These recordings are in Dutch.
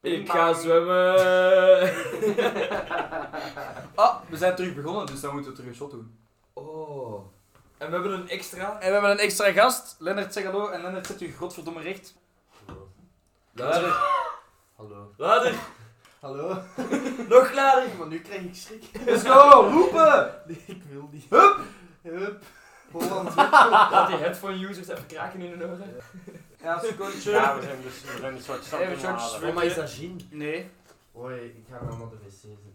Ik ga zwemmen. Ah, we zijn terug begonnen, dus dan moeten we terug een shot doen. Oh. En we hebben een extra. En we hebben een extra gast. Lennart, zeg hallo. En Lennart, zet u godverdomme recht. Luider. Hallo. Luider. Hallo. Nog luider. Maar nu krijg ik schrik. Let's go! Roepen! Nee, ik wil niet. Hup! Hup. Holland. Laat die headphone users even kraken in hun oren. Ja, secondje. Ja, we zijn dus we zijn een soort Even shortjes standaard. Voor mij is dat gin. Nee. Hoi, ik ga naar de wc zitten.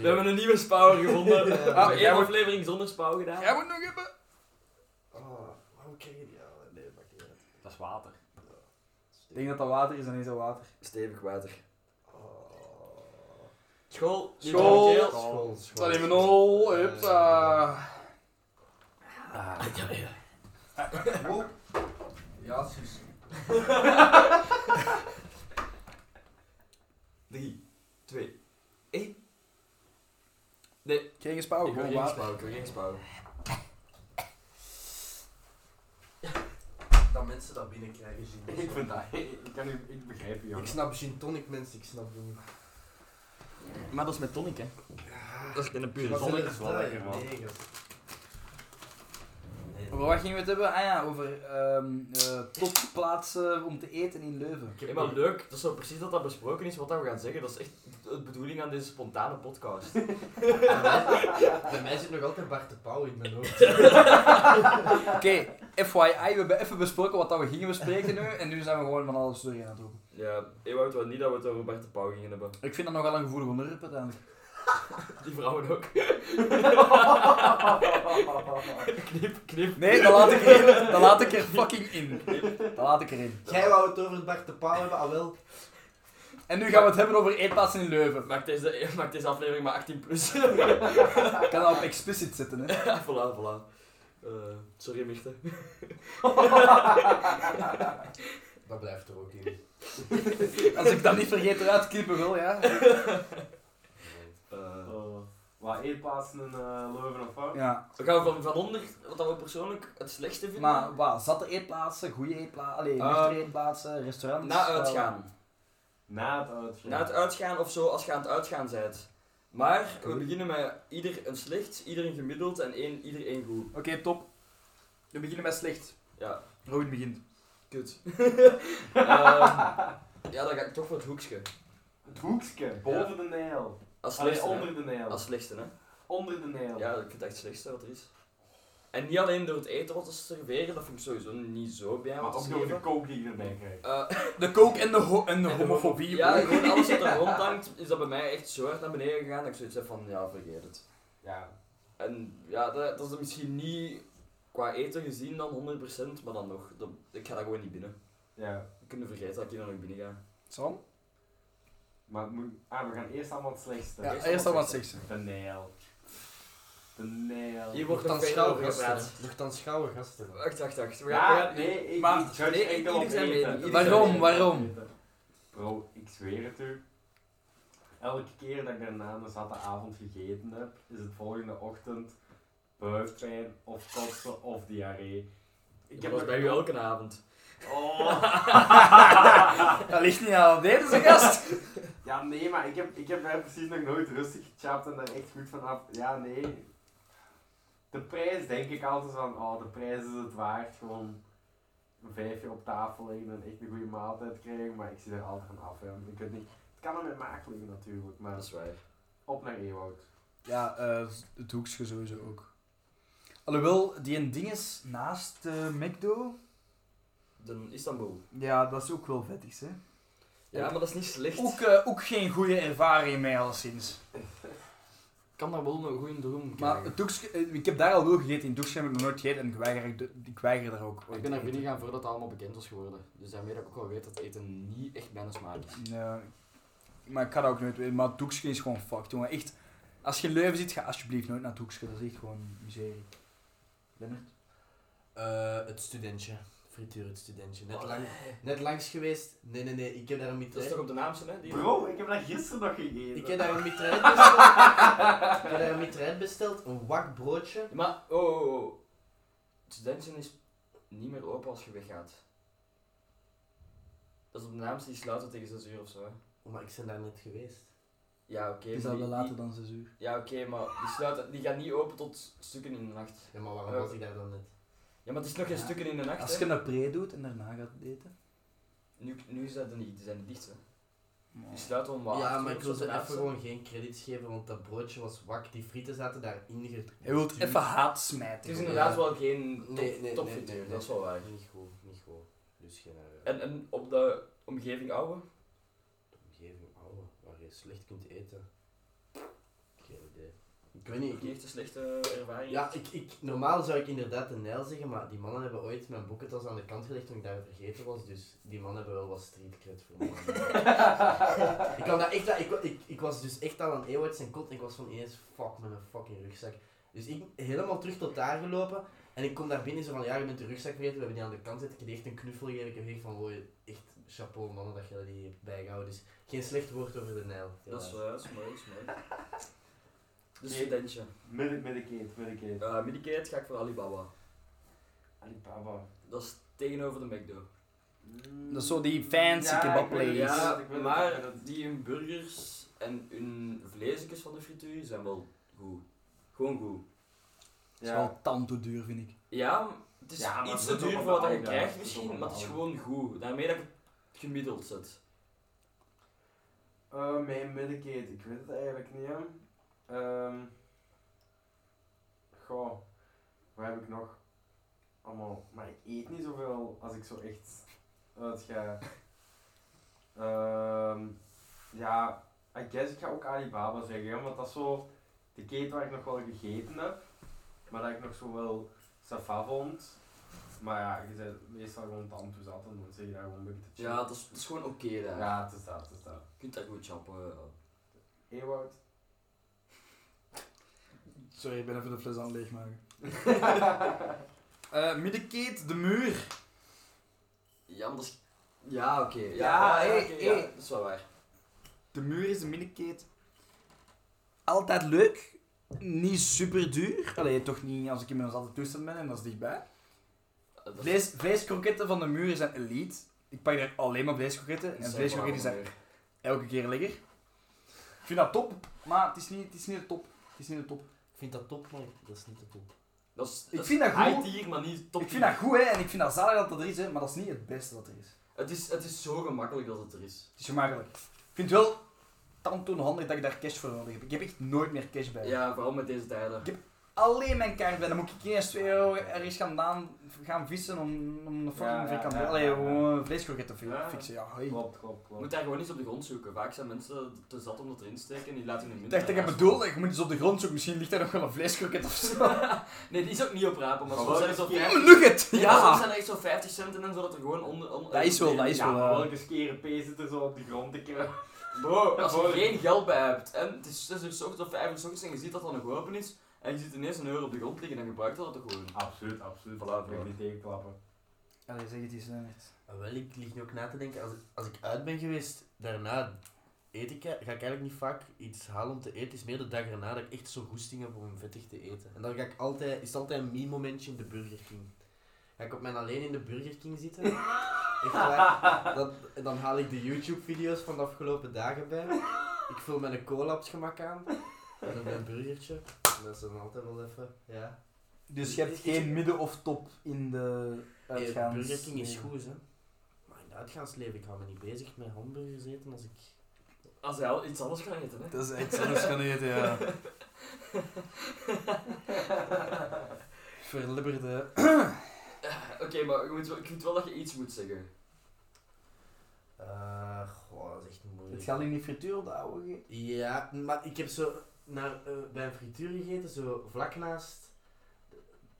We hebben een nieuwe spouw gevonden. We hebben Ah, één jij wordt- aflevering zonder spouw gedaan. Jij moet nog hebben. Oh, waarom krijg je die aan? Nee, maakt niet uit. Dat is water. Ik denk dat dat water is en is dat water. Stevig water. Oh. School. niet School. van Keel. Ah. School, Dat school. is mijn ol. Hupsa. Wow. Eh, Ja, zus. Drie. Twee. Geen gespouw, Ik wil gewoon Ah. geen water. spouw. Ik wil geen spouw. Dat mensen dat binnenkrijgen, gin. Ik vind dat... Ik, kan u, ik begrijp u, Ik jongen. snap gin tonic, mensen. Ik snap het niet. Maar dat is met tonic, hè? Dat is een Wat pure zon zon. is wel lekker, man. Nee, gast. Nee. Over wat gingen we het hebben? Ah ja, over ehm eh, topplaatsen om te eten in Leuven. Ik heb Hey, maar nog- leuk, dat is zo precies dat dat besproken is wat dat we gaan zeggen. Dat is echt de bedoeling aan deze spontane podcast. Bij mij zit nog altijd Bart de Pauw in mijn hoofd. Oké, FYI, we hebben even besproken wat dat we gingen bespreken nu. En nu zijn we gewoon van alles door aan het roepen. Ja, Ewout wou niet dat we het over Bart de Pauw gingen hebben. Ik vind dat nogal een gevoelig onderwerp uiteindelijk. Die vrouwen ook. knip, knip. Nee, dat laat ik er, dat laat ik er fucking in. Dat laat ik erin. Jij wou het over Bart de Pauw hebben, al wel. En nu gaan we het hebben over eetplaatsen in Leuven. Maak deze, maak deze aflevering maar 18 plus. Ik kan dat op explicit zetten, hè. voilà, voilà. Eh, sorry, Mirte. Dat blijft er ook in. Als ik dat niet vergeet eruit te knippen wil, ja. Eh, Oh. Wat, één plaatsen in eh, Leuven of wat? Ja, we gaan van, van onder wat dat we persoonlijk het slechtste vinden. maar wat, zatte eetplaatsen, goede eetplaatsen, allee, Eh, nuchtere eetplaatsen, restaurants... Eh, na wel- uitgaan. Na het uitgaan. Na het uitgaan of zo, als je aan het uitgaan bent. Maar we beginnen met ieder een slecht, ieder een gemiddeld en één, ieder één goed. Oké, top. We beginnen met slecht. Ja, Robin begint. kut. Ehm, ja, dan ga ik toch voor het hoekje. Het hoekje, boven de Nijl. Als Allee, slechtste, hè. onder de Nijl. Als slechtste, hè. Onder de Nijl. Ja, ik vind het echt het slechtste wat er is. En niet alleen door het eten wat ze serveren, dat vind ik sowieso niet zo bij maar wat ook ze door de geven. kook die je erbij krijgt. Eh, De coke en de, ho- en de En de homofobie. ja, broer. gewoon alles wat er rondhangt, is dat bij mij echt zo hard naar beneden gegaan dat ik zoiets heb van, ja, vergeet het. Ja. En ja, dat, dat is misschien niet qua eten gezien dan 100%, maar dan nog. dat- ik ga dat gewoon niet binnen. Ja. We kunnen vergeten dat ik hier dan nog binnen ga. Sam? Maar het moet... Ah, we gaan eerst allemaal het slechtste. Ja, is eerst al allemaal wat seksen. De Nijl. De Nijl. Hier wordt nog Nochtans veel schouwe over gepraat. gasten. Nochtans schouwe gasten. Wacht, wacht, wacht. We gaan, we Ja, gaan- nee, ik Maar- ik judge nee, enkel ieder op zijn eten. mening, ieder zijn Waarom, mening. waarom? Bro, ik zweer het u. Elke keer dat ik daarna een zatte avond gegeten heb, is het volgende ochtend buikpijn of kotsen of diarree. Ik heb dat bij u elke avond. Oh. Dat ligt niet aan deze gast. Ja, nee, maar ik heb, ik heb daar precies nog nooit rustig gechapt en daar echt goed van af. Ja, nee. De prijs denk ik altijd van, oh, de prijs is het waard. Gewoon een vijfje op tafel liggen en echt een goede maaltijd krijgen. Maar ik zie daar altijd van af. Hè. Ik weet niet, het kan aan mijn maag liggen natuurlijk, maar Dat is waar. op naar Ewoud. Ja, eh, het hoekje sowieso ook. Alhoewel, die een ding is naast eh, McDo. Dan Istanbul. Ja, dat is ook wel vettig, hè. Ja, maar dat is niet slecht. Ook, eh, ook geen goede ervaring mee, alleszins. kan daar wel een goede droom Maar het hoekje, eh, ik heb daar al wel gegeten. In het hoekje heb ik nog nooit gegeten en ik weiger, ik, de- ik weiger daar ook ooit Ik ben naar te binnen eten. gegaan voordat het allemaal bekend was geworden. Dus daarmee dat ik ook al weet dat eten niet echt mijn smaak is. Nee, maar ik ga dat ook nooit weten. Maar het hoekje is gewoon fucked, jongen. Echt, als je in Leuven zit, ga alsjeblieft nooit naar het hoekje. Dat is echt gewoon miserie. Lennart? Eh, het studentje. Frituur het studentje. Net, lang, net langs geweest. Nee, nee, nee. Ik heb daar een mitrailleur... op de naamste, hè? Bro, ik heb dat gisteren nog gegeten. Ik heb daar een mitrailleur besteld. ik heb daar een mitrailleur besteld. Een wak broodje. Maar, oh, oh, oh. Het Studenten is niet meer open als je weggaat. Dat is op de naamste die sluiten tegen 6 uur of zo. hè. Oh, Maar ik ben daar net geweest. Ja, oké. Is maar dat wel die- later die- dan 6 uur? Ja, oké, maar die, sluiten, die gaat niet open tot stukken in de nacht. Ja, maar waarom Ja. was ik daar dan net? Ja, maar het is nog geen Ja. stukken in de nacht. Als hè. je een pre doet en daarna gaat eten. Nu, nu zijn ze niet, die zijn niet dicht. Hè. Die Maar- sluiten om acht ja, uur maar of ik zo wil ze ten even laatste. gewoon geen credits geven, want dat broodje was wak. Die frieten zaten daarin ge... Hij wilt even haat smijten. Het is gewoon. inderdaad wel geen top, Nee, nee, nee, topfrituur, nee, nee. dat is wel waar. Niet goed, niet goed. Dus geen... eh, En, en op de omgeving oude? omgeving, ouwe, waar je slecht kunt eten. Geen idee. Ik weet niet, Die ik- heeft een slechte ervaring. Ja, ik, ik, normaal zou ik inderdaad de Nijl zeggen, maar die mannen hebben ooit mijn boekentas aan de kant gelegd toen ik daar vergeten was, dus die mannen hebben wel wat streetcred voor me. ik, kwam daar echt, aan- ik, wa- ik, ik was dus echt al een eeuw uit zijn kot en ik was van ineens fuck met mijn fucking rugzak. Dus ik helemaal terug tot daar gelopen en ik kom daar binnen zo van ja, je bent de rugzak vergeten, we hebben die aan de kant zitten. Ik heb echt een knuffel gegeven, ik heb echt van wow, echt chapeau mannen dat je die hebt bijgehouden. Dus geen slecht woord over de Nijl. Dat is, helaas. eh, dat is mooi, dat is mooi. Dus Nee. studentje. Medi- Medicaid, Medicaid. Eh Medicaid ga ik voor Alibaba. Alibaba. Dat is tegenover de McDo. Mm. Dat is zo die fancy Ja, ik weet het, kebab place. Ja, Ja, ik weet het, ik maar weet het. die hun burgers en hun vleesjes van de frituur zijn wel goed. Gewoon goed. Dat is wel tanto duur, vind ik. Ja, het is Ja, maar iets dat te is ook duur voor wat allemaal je aan, ja. krijgt Dat is misschien, ook maar het is allemaal gewoon goed. Daarmee dat ik het gemiddeld zet. Eh, mijn Medicaid, ik weet het eigenlijk niet. hè. Ehm goh, wat heb ik nog? Allemaal. Maar ik eet niet zoveel als ik zo echt uitga. Ehm ja, I guess ik ga ook Alibaba zeggen, hè, want dat is zo de keten waar ik nog wel gegeten heb. Maar dat ik nog zo wel sava vond. Maar ja, je bent meestal gewoon tante zat en dan zeg je daar gewoon een beetje te Ja, dat is, dat is gewoon oké daar. chillen. Ja, het is dat, het is dat. Je kunt daar goed chappen. ja. Ewout? Sorry, ik ben even de fles aan het leegmaken. Eh Middenkeet, de muur. Ja, maar dat is... Ja, oké. Ja, Ja, ja, hé, oké, hé. ja, dat is wel waar. De muur is de middenkeet. Altijd leuk. Niet super duur. Allee, toch niet als ik in mijn zatte toestand ben en dat is dichtbij. Dat is- Vlees, vleeskroketten van de muur zijn elite. Ik pak daar alleen maar vleeskroketten. dat En is vleeskroketten wel zijn waar. elke keer lekker. Ik vind dat top, maar het is niet, het is niet de top. Het is niet de top. Ik vind dat top, maar dat is niet de top. Dat is, Ik vind dat goed. high tier, maar niet top ik vind tier. dat goed hè, en ik vind dat zalig dat dat er is, hè, maar dat is niet het beste dat er is. Het is, het is zo gemakkelijk dat het er is. Het is gemakkelijk. Ik vind het wel tantoon handig dat ik daar cash voor nodig heb. Ik heb echt nooit meer cash bij. Ja, vooral met deze tijden. Ik heb alleen mijn kaart bij. Dan moet ik eerst 2 euro ergens gaan, daan, gaan vissen om, om de fucking Ja, ja, frikandel. ja, ja, Allee, ja. gewoon een vleeskroket te fi- Ja. fixen. Ja, hoi. Klopt, klopt, Je klopt. moet daar gewoon eens op de grond zoeken. Vaak zijn mensen te zat om dat erin te steken en die laten hun Ik minder. dacht dat ik bedoelde, je moet eens op de grond zoeken. Misschien ligt daar nog wel een vleeskroket of zo. Nee, die is ook niet op rapen, maar Maar soms zijn er welke zo keer- 50 Een nugget! Nee, maar soms Ja! zijn er echt zo 50 centen en zo dat er gewoon onder. on- Dat is wel, dat is Ja, wel. maar eh, welke skere P zit er zo op de grond te kruipen? Bro, als je Hoor. geen geld bij hebt en het is 6 uur 's ochtends of 5 uur 's ochtends en je ziet dat dat nog open is en je ziet ineens een euro op de grond liggen, dan gebruik je dat toch gewoon. Absoluut, absoluut. Voilà, Laten voilà. we niet tegenklappen. Allee, zeg het eens, Leonard. Ah, Wel, ik lig nu ook na te denken, als, als ik uit ben geweest, daarna eet ik, ga ik eigenlijk niet vaak iets halen om te eten. Het is meer de dag erna dat ik echt zo goesting heb om vettig te eten. En dan ga ik altijd, is het altijd een meme-momentje in de Burger King. Ga ik op mijn alleen in de Burger King zitten. Echt waar. Dat, en dan haal ik de YouTube-video's van de afgelopen dagen bij. Ik vul mijn cola op het gemak aan. En dan mijn burgertje. En dat is dan altijd wel even, ja. Dus je hebt geen midden of top in de Hey, uitgaans... Burger King Eh, is goed, hè. Maar in het uitgaansleven, ik hou me niet bezig met hamburgers eten als ik... Als hij al iets anders kan eten, hè? Dat is echt anders gaan eten, ja. Verlibberde... Eh, Oké, maar je moet wel- ik vind wel dat je iets moet zeggen. Eh, goh, dat is echt moeilijk. Het gaat in die frituur op de oude ge- Ja, maar ik heb zo naar, eh, bij een frituur gegeten, zo vlak naast.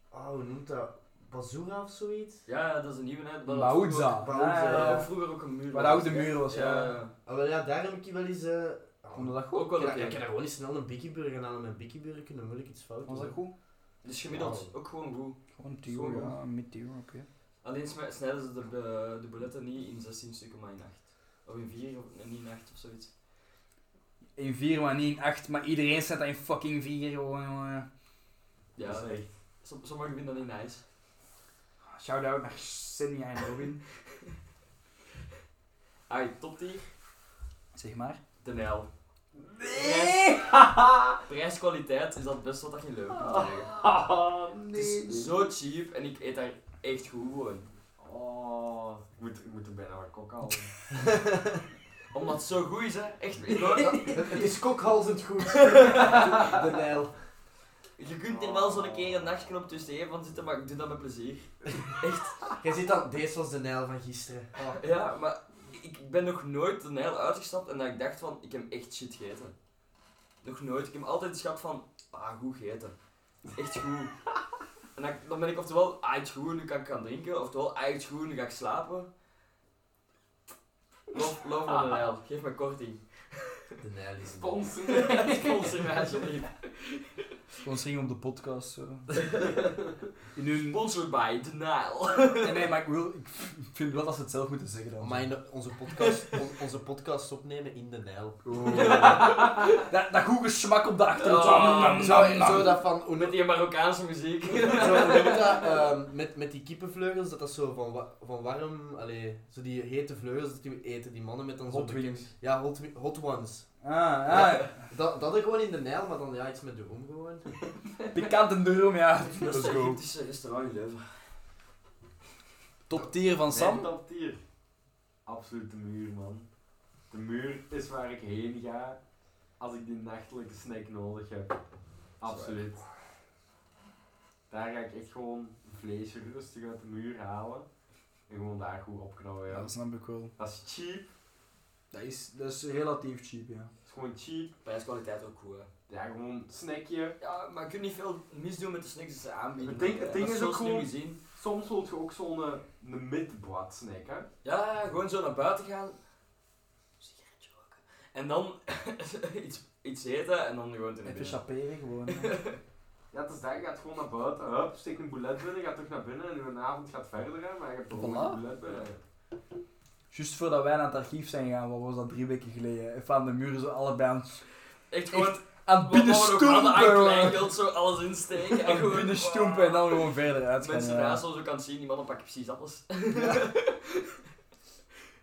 Oh, hoe noemt dat? Bazoura of zoiets? Ja, ja, dat is een nieuwe hè. dat- Bauza. Bauza, Ja, Dat ja, had ja. vroeger ook een muur. Waar de oude muur was, ja. Oh, wel ja, daar heb ik wel eens. eh oh, Vond je dat goed? Ook wel ik oké. heb- ik heb daar gewoon eens snel een Biggie Burger aan en met Biggie Burger kunnen moeilijk iets fout Was dat doen. goed? Dus gemiddeld Wauw. ook gewoon goed. Gewoon duo, Zo, ja, ja. met duo, oké. Alleen sme- snijden ze de, eh, de bulletten niet in 16 stukken, maar in 8. Of in 4 of en niet in 8 of zoiets. In 4, maar niet in 8, maar iedereen staat in fucking eh. 4, jongen. Ja, Dus- Dat is echt. som- sommigen vinden dat niet nice. Shout-out naar Sinja en Robin. Ai, top tier. Zeg maar. De Nijl. Nee! Prijs-kwaliteit is dat best wat dat je leuk kunt Ah. krijgen. Oh, Het is dus- nee. zo cheap en ik eet daar echt goed gewoon. Oh, ik moet, ik moet er bijna wat kok halen. Omdat het zo goed is, hè. Echt, ik hoor dat- Het, het is kokhalzend goed. De Nijl. je kunt er wel zo'n keer een nachtknop tussen even van zitten, maar ik doe dat met plezier. Jij ziet dan, deze was de Nijl van gisteren. Oh. Ja, maar ik ben nog nooit de Nijl uitgestapt en dat ik dacht van, ik heb echt shit gegeten. Nog nooit. Ik heb altijd eens gehad van, ah, goed gegeten. Echt goed. En dan, dan ben ik oftewel, ah, het is goed, nu kan ik gaan drinken. Oftewel, ah, het is goed, nu ga ik slapen. Loop, loop naar de Nijl. Geef me korting. De Nijl is Sponsor. Sponsor mij alsjeblieft. Sponsoring op de podcast. Zo. In hun... Sponsored by The Nile. Nee, maar ik, wil, ik vind wel dat ze het zelf moeten zeggen dan. Maar in de- onze, podcast, on- onze podcast opnemen in de Nijl. Dat, dat goede smak op de achtergrond. Oh, Nam, nam, Zo, nam. zo dat van, hoe Met noem- die Marokkaanse muziek. zo, hoe noem je dat, ehm, met, met die kippenvleugels, dat dat zo van, wa- van warm, allee, zo die hete vleugels dat die eten, die mannen met dan zo Hot bekend- wings. Ja, hot, wi- hot ones. Ah, ah. Dat, dat er gewoon in de Nijl, maar dan ja, iets met de roem gewoon. Pikant en droom, ja. Dat is Let's een go. Egyptische restaurant in Leuven. Top tier van Sam? Sam. Top tier. Absoluut de muur, man. De muur is waar ik heen ga als ik die nachtelijke snack nodig heb. Absoluut. Daar ga ik echt gewoon vlees rustig uit de muur halen. En gewoon daar goed opknallen. Ja. Ja, dat snap ik wel. Dat is cheap. Dat is, dat is relatief cheap, ja. Dat is gewoon cheap. Prijskwaliteit ook goed, hè. Ja, gewoon snackje. Ja, maar je kunt niet veel misdoen met de snacks die ze aanbieden. Het ding- het hè. ding Dat is zo ook slim gewoon- gezien. Soms wil je ook zo'n eh, een midbad snack, hè. Ja, ja, gewoon zo naar buiten gaan. Sigaretje roken. En dan iets, iets eten en dan gewoon te Even binnen. chaperen gewoon. Ja, het is daar. Je gaat gewoon naar buiten. Hup, steek een boulet binnen. Gaat terug naar binnen. En uw avond gaat verder, hè. Maar je hebt gewoon Voilà. een boulet binnen. Juist voordat wij naar het archief zijn gegaan, wat was dat drie weken geleden? Even aan de muren zo allebei aan, Echt gewoon, aan het wat we ook hadden aan binnenstompen. man. kleingeld, zo alles insteken. En Aan het gewoon, binnenstompen en dan gewoon verder uit gaan. Mensen ja. naast ons ook aan het zien, die mannen pakken precies alles.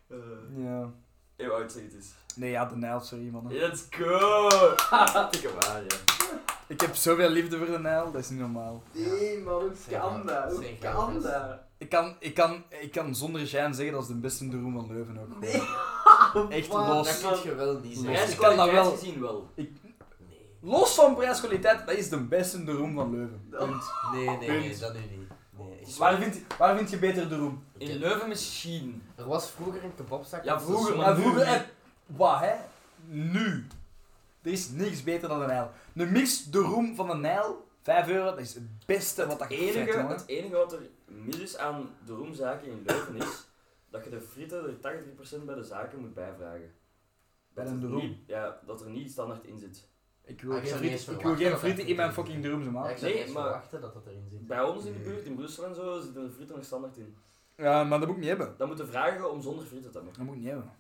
Eh, Ja. Eeuw oud zeg het is. Nee, ja, de Nijl, sorry man. Let's go! Dikke waar, ja. Ik heb zoveel liefde voor de Nijl, dat is niet normaal. Nee, man, hoe Zeg kan maar, dat? Hoe zeg kan maar. dat? Ik kan, ik, kan, ik kan zonder Jean zeggen dat is de beste droom van Leuven ook. gewoon. Echt Dat los. kun je wel niet Nee. zeggen. Ik kan dat wel. Prijskwaliteit gezien wel. Nee, Los van prijskwaliteit, dat is de beste droom van Leuven. Punt. nee, nee, nee Punt. dat nu niet. Nee, ik Waar vind, waar vind je beter droom? Ik In heb- Leuven misschien. Er was vroeger een kebabzak. Ja, op vroeger, station. Maar Maar nu vroeger, niet. en, wat hè? Nu. Er is niks beter dan de Nijl. De mix de roem van de Nijl, 5 euro, dat is het beste wat dat Het je vet, enige, jongen. het enige wat er mis is aan de roemzaken in Leuven is dat je de frieten er 80% bij de zaken moet bijvragen. Bij Dat een er roem? niet- Ja, dat er niet standaard in zit. Ik Ah, wil ik geen zou niet eens frieten, ik wil geen verwachten frieten dat in mijn dat fucking frieten droom, zo, Ja, man. ik zou Nee, niet eens maar- verwachten dat dat erin zit. Bij ons in de Nee. buurt, in Brussel en zo, zitten de frieten er standaard in. Ja, maar dat moet ik niet hebben. Dan moeten vragen om zonder frieten te hebben. Dat moet ik niet hebben.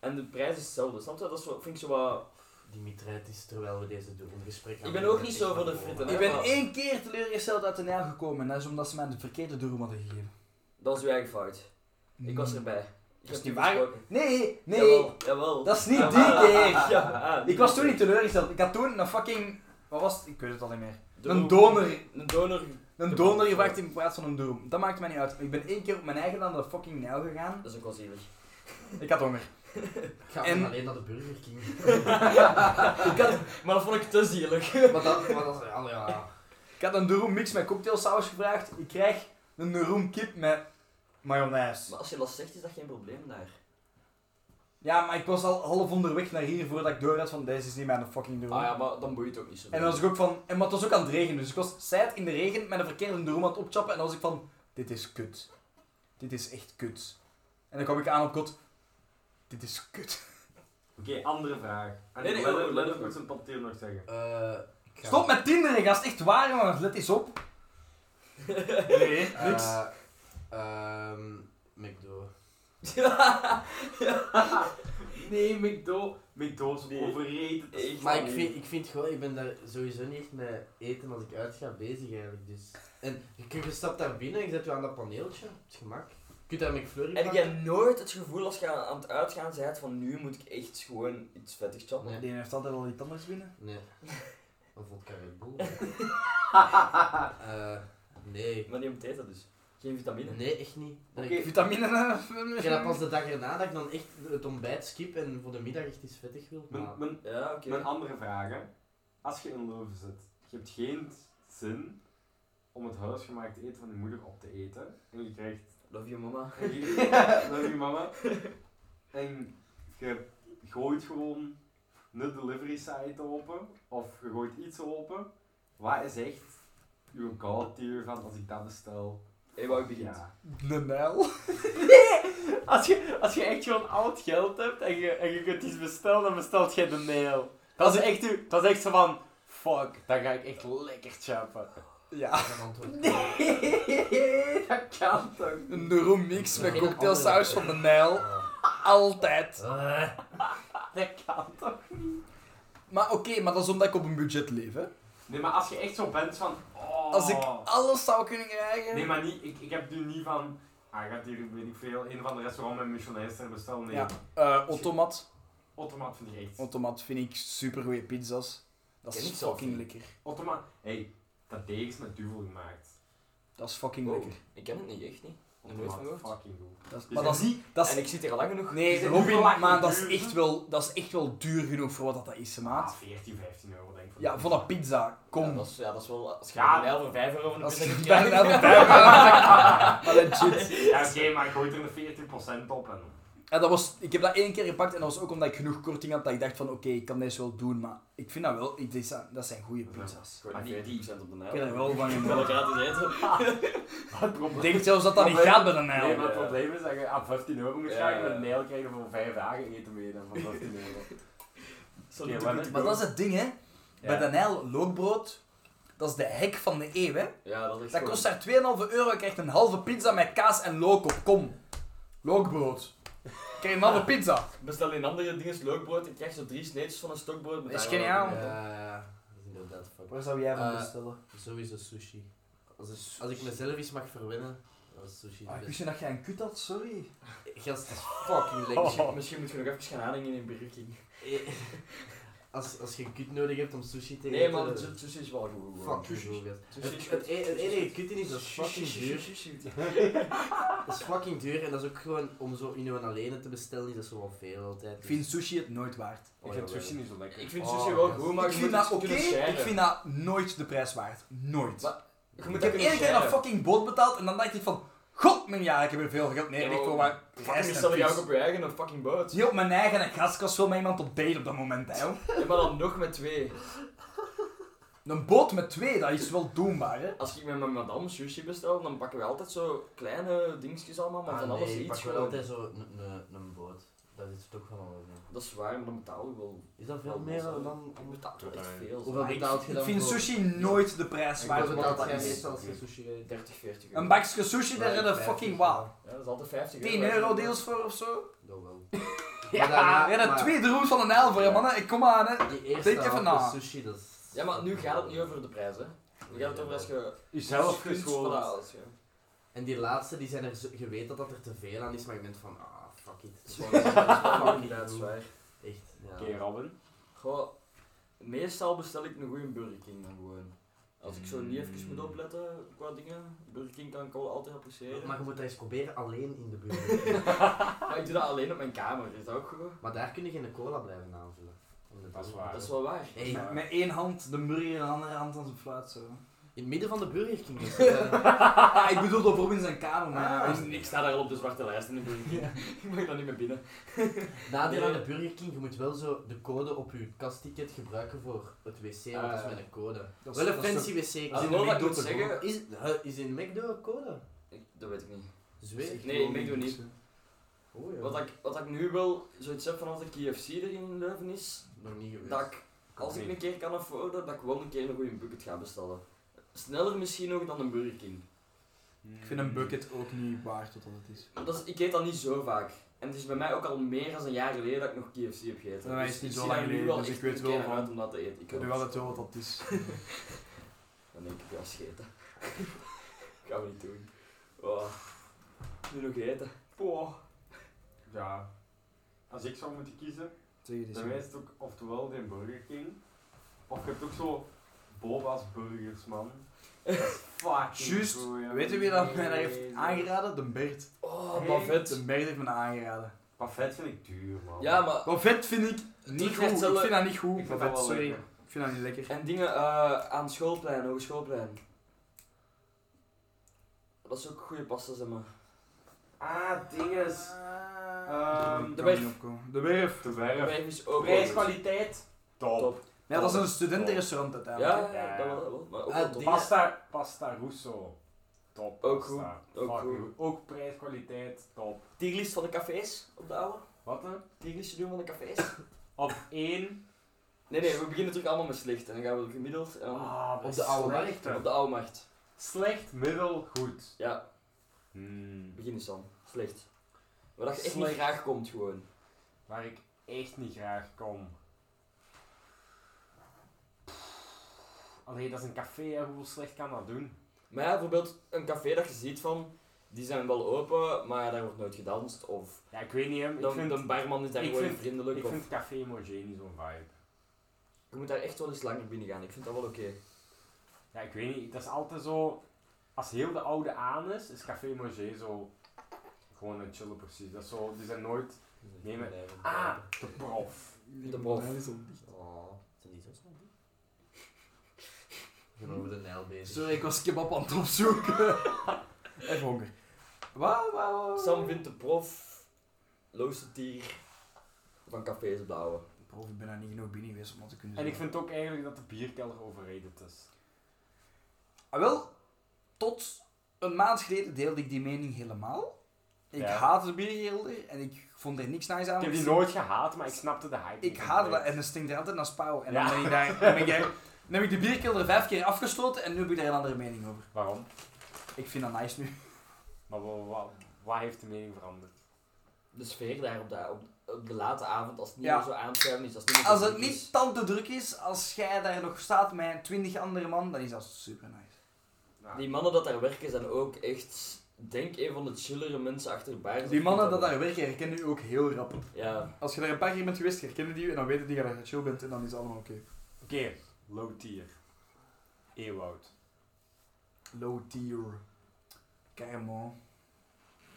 En de prijs is hetzelfde, snap je? Dat is zo, vind ik zo wat... Dimitrijd is terwijl we deze doen een gesprek Ik ben ook niet zo voor de fritten, hè. Ik ben één keer teleurgesteld uit de Nijl gekomen en dat is omdat ze mij de verkeerde droom hadden gegeven. Dat is uw eigen fout. Ik was erbij. Ik Mm. Dat heb is niet u waar. gesproken. Nee, nee. Jawel, jawel. Dat is niet Ja, die maar- keer. Ja, ah, Ik was toen niet teleurgesteld. Ik had toen een fucking... Wat was het? Ik weet het al niet meer. De een roem- donor. Een donor. Een donor gevraagd in plaats van een droom. Dat maakt mij niet uit. Ik ben één keer op mijn eigen aan de fucking Nijl gegaan. Dat is ook wel zielig. Ik had honger. Ik ga En- alleen naar de Burger King. Ik had- maar dat vond ik te zielig. maar dat, maar dat is... Ja, ja. Ik had een droom mix met cocktailsaus gevraagd. Ik krijg een droom kip met mayonaise. Maar als je dat zegt, is dat geen probleem daar. Ja, maar ik was al half onderweg naar hier voordat ik door had van deze is niet mijn fucking droom. Ah ja, maar dan boeit het ook niet zo. En dan was ik ook van... En maar het was ook aan het regenen. Dus ik was zijt in de regen met een verkeerde droom aan het opchappen. En dan was ik van... Dit is kut. Dit is echt kut. En dan kwam ik aan op God. Dit is kut. Oké, andere vraag. En Nee, nee, Lennon- oh, oh, Lennon oh. moet zijn top tier nog zeggen. Eh, ik ga- Stop met Tinder, gast. Echt waar, jongens. Let eens op. Nee, Eh, niks. ehm, McDo. Nee, McDo. McDo is Nee. overrated. as Ik- fuck. Maar ik vind, ik vind gewoon, ik ben daar sowieso niet echt met eten als ik uitga bezig eigenlijk. Dus. En je, je stapt daar binnen en je zet je aan dat paneeltje. Op het gemak. kunt dat McFlurry Heb jij nooit het gevoel als je aan aan het uitgaan bent van nu moet ik echt gewoon iets vettigs chappen? Nee. Die heeft altijd al iets anders binnen. Nee. Een vodka Red Bull. Eh, nee. Maar niet om te eten dus. Geen vitamine. Nee, echt niet. Dat Oké. Ik Vitamine. eh, ik heb dat pas de dag erna dat ik dan echt het ontbijt skip en voor de middag echt iets vettig wil. Mijn, Maar mijn, Ja, oké. mijn andere vraag, hè. Als je in Leuven zit, je hebt geen zin om het huisgemaakt eten van je moeder op te eten. En je krijgt Love you mama. En je- Dat is je mama. En je gooit gewoon een delivery site open, of je gooit iets open. Wat is echt uw god tier van als ik dat bestel? Hé, wou ik begint. Ja. De mijl. Als je, als je echt gewoon al het geld hebt en je, en je kunt iets bestellen, dan bestelt jij de mail. Dat is echt, uw- dat is echt zo van, fuck, dan ga ik echt lekker chappen. Ja. mijn antwoord. Nee, dat kan toch Een neuromix met Geen cocktailsaus van andere. de mijl. Altijd. Oh, Eh, Dat kan toch Maar oké, maar dat is omdat ik op een budget leef, hè. Nee, maar als je echt zo bent van. Oh, Als ik alles zou kunnen krijgen... Nee, maar niet, ik, ik heb nu niet van. Ah, gaat hier, weet ik veel, een van de restaurant met missionairster bestellen. Nee, Ja. Eh, automat. automaat vind ik echt. Automat vind ik super goede pizza's. Dat Ken is ik zelf fucking niet. lekker. Automaat. hey, dat deeg is met duvel gemaakt. Dat is fucking Oh. Wow. lekker. Ik ken het niet, echt niet. Nog nooit van Automaat, gehoord. fucking goed. Dat is, Die maar zijn dat is, niet dat En is ik zit hier al lang genoeg. Nee, zijn Robin, hoeveel lagen maar dat is, duur? echt wel, dat is echt wel duur genoeg voor wat dat is, ah, maat. 14, 15 euro denk ik. Ja, voor een pizza. Ja, Kom. dat, is, ja, dat is wel... Als je Ja. een mijl voor 5 euro van de dat pizza is kunt bijna krijgen. de vijf. Maar legit. Ja, oké, maar ik gooi er een 40% op en... Ja, dat was, ik heb dat één keer gepakt en dat was ook omdat ik genoeg korting had dat ik dacht van oké, ik kan deze wel doen, maar ik vind dat wel, ik, dit zijn- dat zijn goede pizza's. Gewoon Maar die- 40% op de Ik mijl. heb er wel van Ik wil in. het gratis eten. Het probleem, Ik denk zelfs dat dat niet gaat bij een nee, Nijl. maar het probleem is dat je aan 15 euro moet Ja. gaan en een nail krijgen voor 5 dagen eten mee dan van 15 euro. Sorry, Oké, wat- Maar dat is het ding hè, bij de Nijl lookbrood, dat is de hek van de eeuw hè. Ja, dat is echt Dat gewoon- kost daar 2,5 euro, je krijgt een halve pizza met kaas en look op, kom. Lookbrood. Ik krijg een halve pizza. Bestel in andere dingen leukbrood. Ik krijg zo drie sneetjes van een stokbrood. met Dat is daar wel- geniaal. ja, dat is inderdaad fuck. Waar zou jij Eh, van bestellen? Sowieso sushi. Als ik, als ik mezelf iets mag verwennen, dan is sushi het Ah, ik wist beste. Eh, niet dat jij een kut had, sorry. Gast, het is fucking lekker. Misschien moet je nog even gaan aanhangen in Burger King. Eh, Als, als je een kut nodig hebt om sushi te Nee, eten... maar het sushi is wel goed. gewoon. eh, Fuck Sushi. you, gast. Sushi is Het, goed. het, e- het enige kut in is, dat is fucking Sushi, duur. sushi, sushi. Dat is fucking duur en dat is ook gewoon om zo in een alleen te bestellen, is dat zo wel veel altijd. Ik Dus- vind sushi het nooit waard. Oh, jawel. niet zo lekker. Ik vind Oh, sushi wel gast. goed, maar ik je vind moet dat het oké, kunnen ik scheren. vind dat nooit de prijs waard. Nooit. Maar- Je moet ik het heb kunnen één keer een scheren. fucking boot betaald en dan dacht ik van... God, mijn jaar, ik heb er veel geld. Nee, Ja, echt voor maar- maar Fucking prijs bestel je ook en op je eigen een fucking boot. Hier op mijn eigen en gastkast wil met iemand op date op dat moment, hè. joh. Ja, maar dan nog met twee. Een boot met twee, dat is wel doenbaar, hè. Als ik met mijn madame sushi bestel, dan pakken we altijd zo kleine dingetjes allemaal, maar Ah, van nee, alles ik pak iets wel gewoon. altijd zo een- een een boot. Dat is toch van alles. hè. Dat is waar, maar dan betaal je wel. Is dat veel wel meer zo. dan... dan- Ik betaal wel echt Nee. veel. Hoeveel zo. betaalt je Ik dan vind voor- sushi nooit de prijs Ik waard. wil wat betaald dat jij is. meestal als je sushi eet. 30, 40 euro. Een bakje sushi, daar Ja, redden vijftig fucking euro. wauw. Ja, dat is altijd 50 euro. 10 euro deals voor of zo. Dat wel. Ja, daarna- redden maar- twee droes van een elf, hè, mannen. Ik kom aan, hè. Die eerste Denk even hap na. is sushi, dat is... Ja, maar nu gaat het niet over de prijs, hè. Nu gaat het over als je... Jezelf kunt voilà, geschoold. als je- En die laatste, die zijn er... zo- Je weet dat dat er te veel aan is, maar je bent van... Ah, fuck it. Het is gewoon- het is gewoon niet uit, goed. zwaar. Echt, ja. Oké, Robin. Goh, meestal bestel ik een goede Burger King dan gewoon. Als ik zo niet even moet opletten qua dingen, Burger King kan ik wel altijd appreciëren. Maar Maar, je moet dat eens proberen alleen in de buurt. ik doe dat alleen op mijn kamer, is dat ook goed? maar daar kun je geen cola blijven aanvullen. Om Dat is te- waar. Dat is wel waar. Hey, Met, met één hand de burger en de andere hand aan zijn fluit zo. in het midden van de Burger King is het, eh, Ah, ik bedoel op Robin zijn kamer, maar... Ik- ik sta daar al op de zwarte lijst in de Burger King. ik mag daar niet meer binnen. Nadeel Nee. aan de Burger King, je moet wel zo de code op je kastticket gebruiken voor het wc, want dat Ah. is met een code. Dat is- wel een dat is fancy wc. Als code. ik wel Ah, wat moet zeggen, Is, huh, is in McDo een code? ik, dat weet ik niet. Zweer. Nee, ik doe niet. Oh, ja. Wat ik, wat ik nu wel zoiets heb van als de KFC er in Leuven is, Nog niet geweest. dat ik, als ik een keer kan afforden, dat ik wel een keer een goede bucket ga bestellen. Sneller misschien nog dan een Burger King. Ik vind een bucket ook niet waard wat dat het is. Maar Dat is, ik eet dat niet zo vaak. En het is bij mij ook al meer dan een jaar geleden dat ik nog KFC heb gegeten. Bij mij is het Dus ik niet zo zie lang daar nu geleden, wel dus echt ik weet een wel keer van- uit om dat te eten. Ik weet wel het wel wat dat is. Dan denk ik, ja, scheten. Gaan we niet doen. Oh. Nu nog eten. Poh. Ja. Als ik zou moeten kiezen, Zeg je dit dan is het ook oftewel de Burger King, of je hebt ook zo Boba's Burgers, man. Dat is fucking Juist, goeie. Weet je wie dat mij daar Nee. heeft aangeraden? De Bert. Oh, Hey. Buffet. De Bert heeft me dat aangeraden. Buffet vind ik duur, man. Ja, maar... Buffet vind ik niet Utrecht goed. zullen- Ik vind dat niet goed. Ik vind Buffet, dat wel sorry. lekker. Ik vind dat niet lekker. En dingen eh aan schoolplein, hogeschoolplein. Dat is ook goede pasta's, hè, maar. Ah, dinges. Ehm, Ah. Ik de kan werf. niet opkomen. De werf. Te De werf. wijf is ook... Prijs-kwaliteit. Top. Ja, dat is een studentenrestaurant uiteindelijk. Ja, ja, dat wel, dat wel. Maar ook wel Ah, top. dingen- Pasta, pasta russo. Top. Ook pasta. goed, ook Fucking goed. Ook prijs-kwaliteit. Top. Tierlist van de cafés, op de oude. Wat hè? Tierlistje doen van de cafés. Op één. Nee, nee, we beginnen terug allemaal met slecht. En dan gaan we gemiddeld en dan Ah, op de oude slecht, hè. op de oude macht. Slecht, middel, goed. Ja, Hmm. begin eens dan. Slecht. Waar dat je echt Slecht. niet graag komt, gewoon. Waar ik echt niet graag kom. Allee, dat is een café, hè. hoe slecht kan dat doen? Maar ja, bijvoorbeeld een café dat je ziet van, die zijn wel open, maar daar wordt nooit gedanst. Of Ja, ik weet niet, hè. de, Ik vind, de barman is daar ik gewoon vind- vriendelijk. ik of... vind café Mojé niet zo'n vibe. Je moet daar echt wel eens langer binnen gaan. Ik vind dat wel oké. Ja, ik weet niet. Dat is altijd zo. Als heel de oude aan is, is Café Manger zo. Gewoon een chillen, precies. Dat is zo. Die zijn nooit. Nee, maar- Ah, de prof. De bof. Oh, het is niet zo snel. Ik ben over de Nijl bezig. Sorry, ik was kebab aan het opzoeken. Even honger. Wauw, wauw, wauw. Sam vindt de prof loosste tier van cafés blauwe. Prof, ik ben daar niet genoeg binnen geweest om dat te kunnen En ik zeggen. vind ook eigenlijk dat de bierkelder overrated is. Ah, wel, tot een maand geleden deelde ik die mening helemaal. Ik Ja. haatte de biergelder en ik vond er niks nice aan. Ik heb die nooit gehaat, maar ik snapte de hype. Ik haatte dat en dan stinkt er altijd naar spouw. En dan, Ja. ben ik daar, dan, ben ik daar- dan heb ik de bierkelder vijf keer afgesloten en nu heb ik daar een andere mening over. Waarom? Ik vind dat nice nu. Maar wa- wa- wat heeft de mening veranderd? De sfeer daar op de, op, op de late avond, als het niet Ja. meer zo aanschuiven is, als het niet meer zo Als het druk is. niet tant te druk is, als jij daar nog staat met twintig andere man, dan is dat super nice. Die mannen dat daar werken zijn ook echt, denk een van de chillere mensen achter bars. Die mannen dat daar werken herkennen u ook heel rap. Ja, Als je daar een paar keer bent geweest, herkennen die u en dan weten die dat je chill bent en dan is het allemaal oké. Oké, low tier. Ewoud. Low tier. Caramel.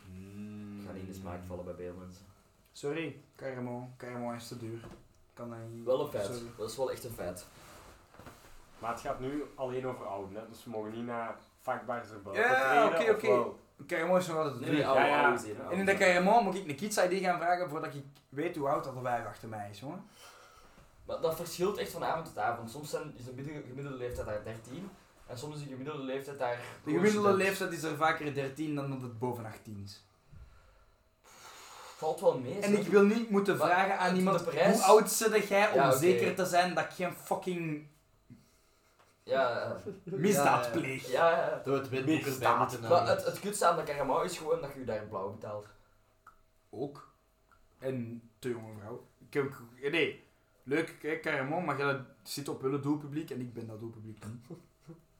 ik ga niet in Hmm. de smaak vallen bij veel mensen. Sorry. Caramel. Caramel is te duur. Kan dat niet. Wel een feit, Sorry. dat is wel echt een feit. Maar het gaat nu alleen over ouden, hè? dus we mogen niet naar vakbaars erboven. Ja, oké, treden, oké. ofwel- Caramel is nog altijd te Nee, duur. nee, oude, Ja, ja. oude zin, oude En in zin. dat caramel moet ik een kids ID gaan vragen voordat ik weet hoe oud dat wijf achter mij is, jongen. Maar dat verschilt echt van avond tot avond. Soms zijn, is de midden- gemiddelde leeftijd daar 13 en soms is de gemiddelde leeftijd daar. De gemiddelde Gewoon leeftijd is er vaker 13 dan dat het boven 18 is. Valt wel mee. En zeg. ik wil niet moeten Maar vragen aan de iemand prijs- hoe oud zit jij om Ja, oké. zeker te zijn dat ik geen fucking Ja, eh, misdaad Ja, ja. pleeg. ja. eh. Door het witboek erbij moeten Maar halen. het, het kutste aan de caramel is gewoon dat je je daar blauw betaalt. Ook. En te jonge vrouw. Ik heb, ook- eh, nee, leuk, kijk, Caramon, maar jij zit op hun doelpubliek en ik ben dat doelpubliek.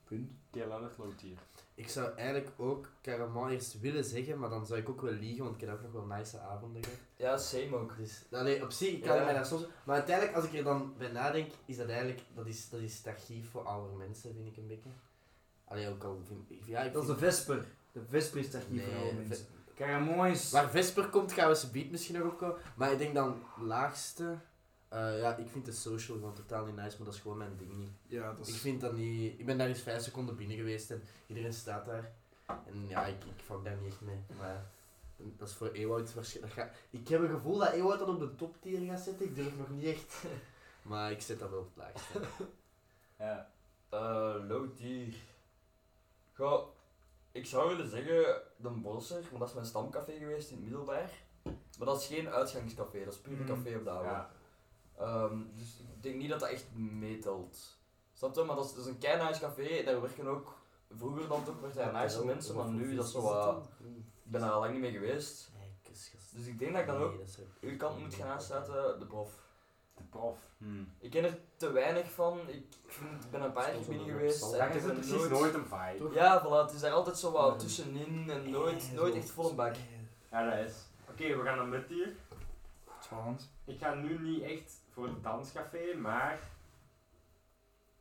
Punt. Oké, Lennart, low tier. Ik zou eigenlijk ook Caramel eerst willen zeggen, maar dan zou ik ook wel liegen, want ik heb ook nog wel nice avonden gehad. Ja, same ook. Dus, allee, op zich, ik kan Ja. mij daar soms... Maar uiteindelijk, als ik er dan bij nadenk, is dat eigenlijk... Dat is, dat is het archief voor oude mensen, vind ik een beetje. Allee, ook al vind ik... Ja, ik Dat is de vind- Vesper. De Vesper is daar hier Nee, voor alle Ve- mensen. Caramon is... Waar Vesper komt, gaan we ze beat misschien nog opkomen. Maar ik denk dan laagste... eh, ja, ik vind de social gewoon totaal niet nice, maar dat is gewoon mijn ding niet. Ja, dat Ik is... vind dat niet... Ik ben daar eens vijf seconden binnen geweest en iedereen staat daar. En ja, ik, ik vang daar niet echt mee. Maar dat is voor Ewout waarschijnlijk... dat gaat- Ik heb een gevoel dat Ewout dan op de toptier gaat zitten. Ik durf nog niet echt... Maar ik zet dat wel op het laagste. Ja. Eh, low tier. Goh, ik zou willen zeggen de Bosser, maar dat is mijn stamcafé geweest in het middelbaar. Maar dat is geen uitgangscafé, dat is puur een Mm. café op de oude. Ja. Ehm, dus ik denk niet dat dat echt meetelt. Snap je? Maar dat is, dat is een kei-nice café, daar werken ook... Vroeger dan toch werd daar nice mensen, maar nu is dat zo wat... Ik ben daar al lang niet mee geweest. Nee, kus, gast. Dus ik denk dat ik dan Nee, ook dat zou ik- uw kant moet gaan aansluiten, de prof. de prof. Hmm. Ik ken er te weinig van. Ik ik ben een paar keer binnen geweest. en Daar ik is heb het er precies nooit een vibe. Ja, voilà, het is daar altijd zo wat tussenin en nooit, nooit echt vol een bak. Ja, dat is. Oké, we gaan dan met hier. Spannend. Ik ga nu niet echt voor het danscafé, maar...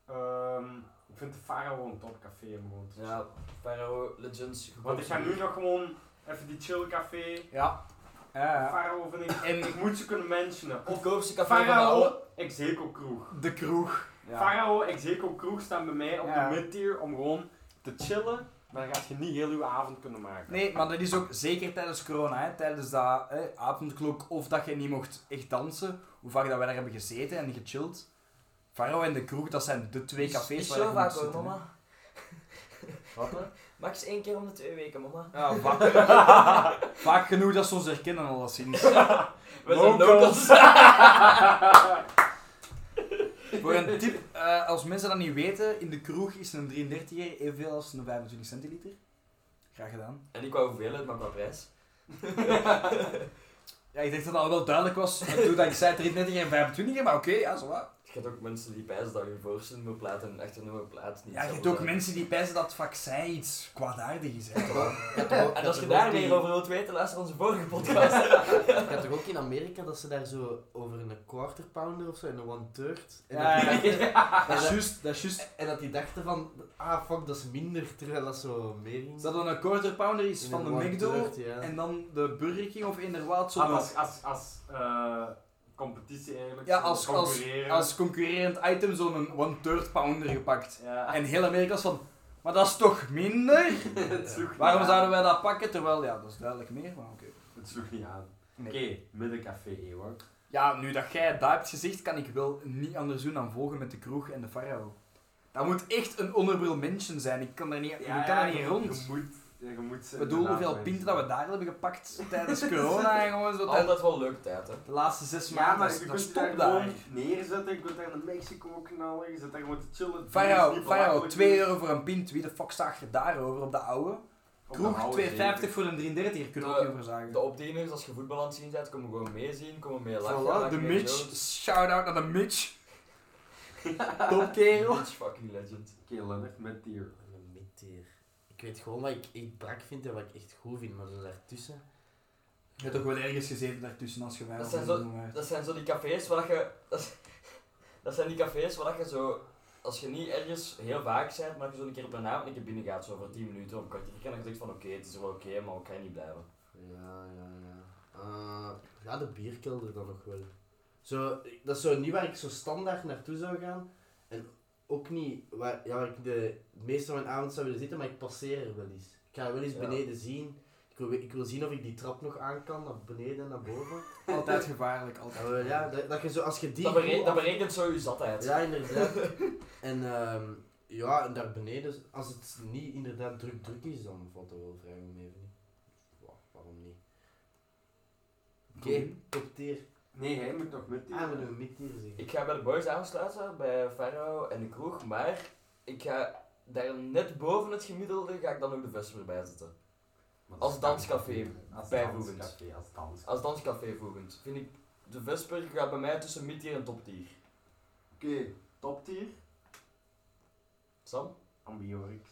ehm, ik vind de Faro een topcafé om gewoon te Ja, Pharaoh Legends. gewoon Want ik ga nu zo- nog gewoon even die chillcafé. Ja. Ja, ja. Faro vind ik... En ik moet ze kunnen mentionen. Of Goedkoopste café van de oude. Farao Execo Kroeg. De kroeg. Ja. Farao Execo Kroeg staan bij mij op Ja. de mid-tier om gewoon te chillen. Maar dan gaat je niet heel uw avond kunnen maken. Nee, maar dat is ook zeker tijdens corona, hè, tijdens dat hè, avondklok of dat je niet mocht echt dansen, hoe vaak dat wij daar hebben gezeten en gechilled. Faro en de kroeg, dat zijn de twee Is- cafés is waar zo je vaak moet hoor, zitten, hè. mama. Wat dan? Max één keer om de twee weken, mama. Ja, vaak, vaak genoeg dat ze ons herkennen alleszins. We zijn Locals. locals. Voor een tip, eh, als mensen dat niet weten, in de kroeg is een 33er evenveel als een 25 centiliter. Graag gedaan. En ik wou hoeveelheid, maar qua prijs. Ja, ik dacht dat dat al wel duidelijk was toen dat ik zei 33 en 25, maar oké, ja, zo wat. Je hebt ook mensen die pijzen dat hun voorste nummerplaat en achternummerplaat niet Ja, je hebt ook hetzelfde zijn. mensen die pijzen dat het vaccin iets kwaadaardig is. Hè. En als je daar meer over wilt weten, luister onze vorige podcast. Ik had toch ook in Amerika dat ze daar zo over een quarter pounder of zo en een one third. En, Ja, dat, ja, en, Dat is dat, juist, dat is juist. en dat die dachten van, ah fuck, dat is minder, terwijl dat zo meer ging. Is Dat dan een quarter pounder is In van de een one McDo third, ja. en dan de Burger King of inderdaad zo'n... Ah, als als, als eh, competitie eigenlijk. Ja, zo als, als, concurreren. als concurrerend item zo'n one-third pounder gepakt. Ja. En heel Amerika is van, maar dat is toch minder? het sloeg Waarom niet zouden aan. wij dat pakken? Terwijl, ja, dat is duidelijk meer, maar oké. Het sloeg niet aan. Nee. Oké, middencafé, Ewok. Ja, nu dat jij dat hebt gezegd, kan ik wel niet anders doen dan volgen met de kroeg en de farao. Dat moet echt een honorable mention zijn. Ik kan daar niet, ik kan daar niet rond. Je moet, ja, je moet ze Ik bedoel, inderdaad hoeveel mensen- pinten dat we daar hebben gepakt tijdens corona en gewoon zo tijdens Altijd wel leuk tijd, hè. de laatste zes Ja, maar maanden. je dus dat kunt is je top daar daar. gewoon neerzetten, je kunt daar naar Mexico knallen, je zit daar gewoon te chillen. Het is Farao, niet Farao, belachelijk. 2 euro voor een pint. Wie de fuck zag je daarover op de oude? Op de Kroeg, oude 2,50 voor een 33, kunnen we ook De- niet over zagen. De opdieners, als je voetbal aan het zien bent, komen gewoon meezien, komen mee lachen. Voilà, maken de mee Mitch. jokes. Shout-out naar de Mitch. Topkerel. Mitch, fucking legend. zeven. Oké, Lennart, met dier. Een midtier. Ik weet gewoon wat ik, ik brak vind en wat ik echt goed vind, maar zo daartussen. Je hebt toch wel ergens gezeten daartussen als je wij Dat of zijn zo zo- doen waart. Dat zijn zo die cafés waar dat je... Dat, is- dat zijn die cafés waar dat je zo... Als je niet ergens heel vaak bent, maar als je zo een keer op een avond een keer binnen gaat, zo voor 10 minuten of een kwartier, en dan denk je van oké, het is wel oké, maar ik kan niet blijven. Ja, ja, ja. Eh, ja, de bierkelder dan nog wel. Zo, dat is zo niet waar ik zo standaard naartoe zou gaan. En ook niet waar, ja, waar ik de meeste van mijn avond zou willen zitten, maar ik passeer er wel eens. Ik ga wel eens Ja. beneden zien. Ik wil, ik wil zien of ik die trap nog aan kan, naar beneden en naar boven. Altijd gevaarlijk, altijd. Ja, wel, ja, dat, dat je zo, als je die... Dat, bere- goed dat af- berekent zo je zatheid. Ja, inderdaad. en ehm, ja, en daar beneden, als het niet inderdaad druk druk is, dan valt dat wel vrij om even niet. Wa- waarom niet? Oké, top tier. Nee, hij moet nog met dier. Ah, we doen mid-tier zeggen. Ik ga bij de boys aansluiten, bij Faro en de kroeg, maar ik ga daar net boven het gemiddelde ga ik dan ook de Vesper bij zetten. Als danscafé Als bijvoegend. danscafé, als dans. Als danscafé voegend, vind ik de Vesper gaat bij mij tussen mid-tier en top-tier. Oké, top tier. Sam? Ambiorix.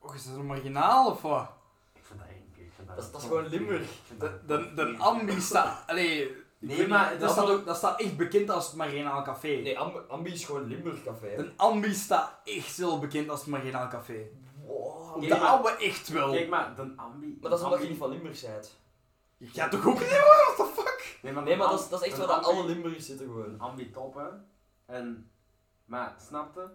Och, is dat een marginaal of wat? Ik vind dat eng. ik vind Dat is- dat is gewoon Limburg. Ik vind De, dat- de, de ambi staat... Allee... ik Nee, weet maar dat niet, dat, staat is- ook, dat staat echt bekend als het marginaal café. Nee, Amb- Ambi is gewoon Limburg café. hè. De ambi staat echt wel bekend als het marginaal café. Wow. Op Oké, de maar- oude echt wel. Kijk maar, de ambi. Maar dat is omdat je ambi- niet van Limburg bent. Je gaat toch ook niet, what the fuck? Nee, maar, Nee, de maar am- dat is, dat is echt de waar dat ambi- alle Limburgers zitten gewoon. Een ambi top, hè. En, maar, snapte?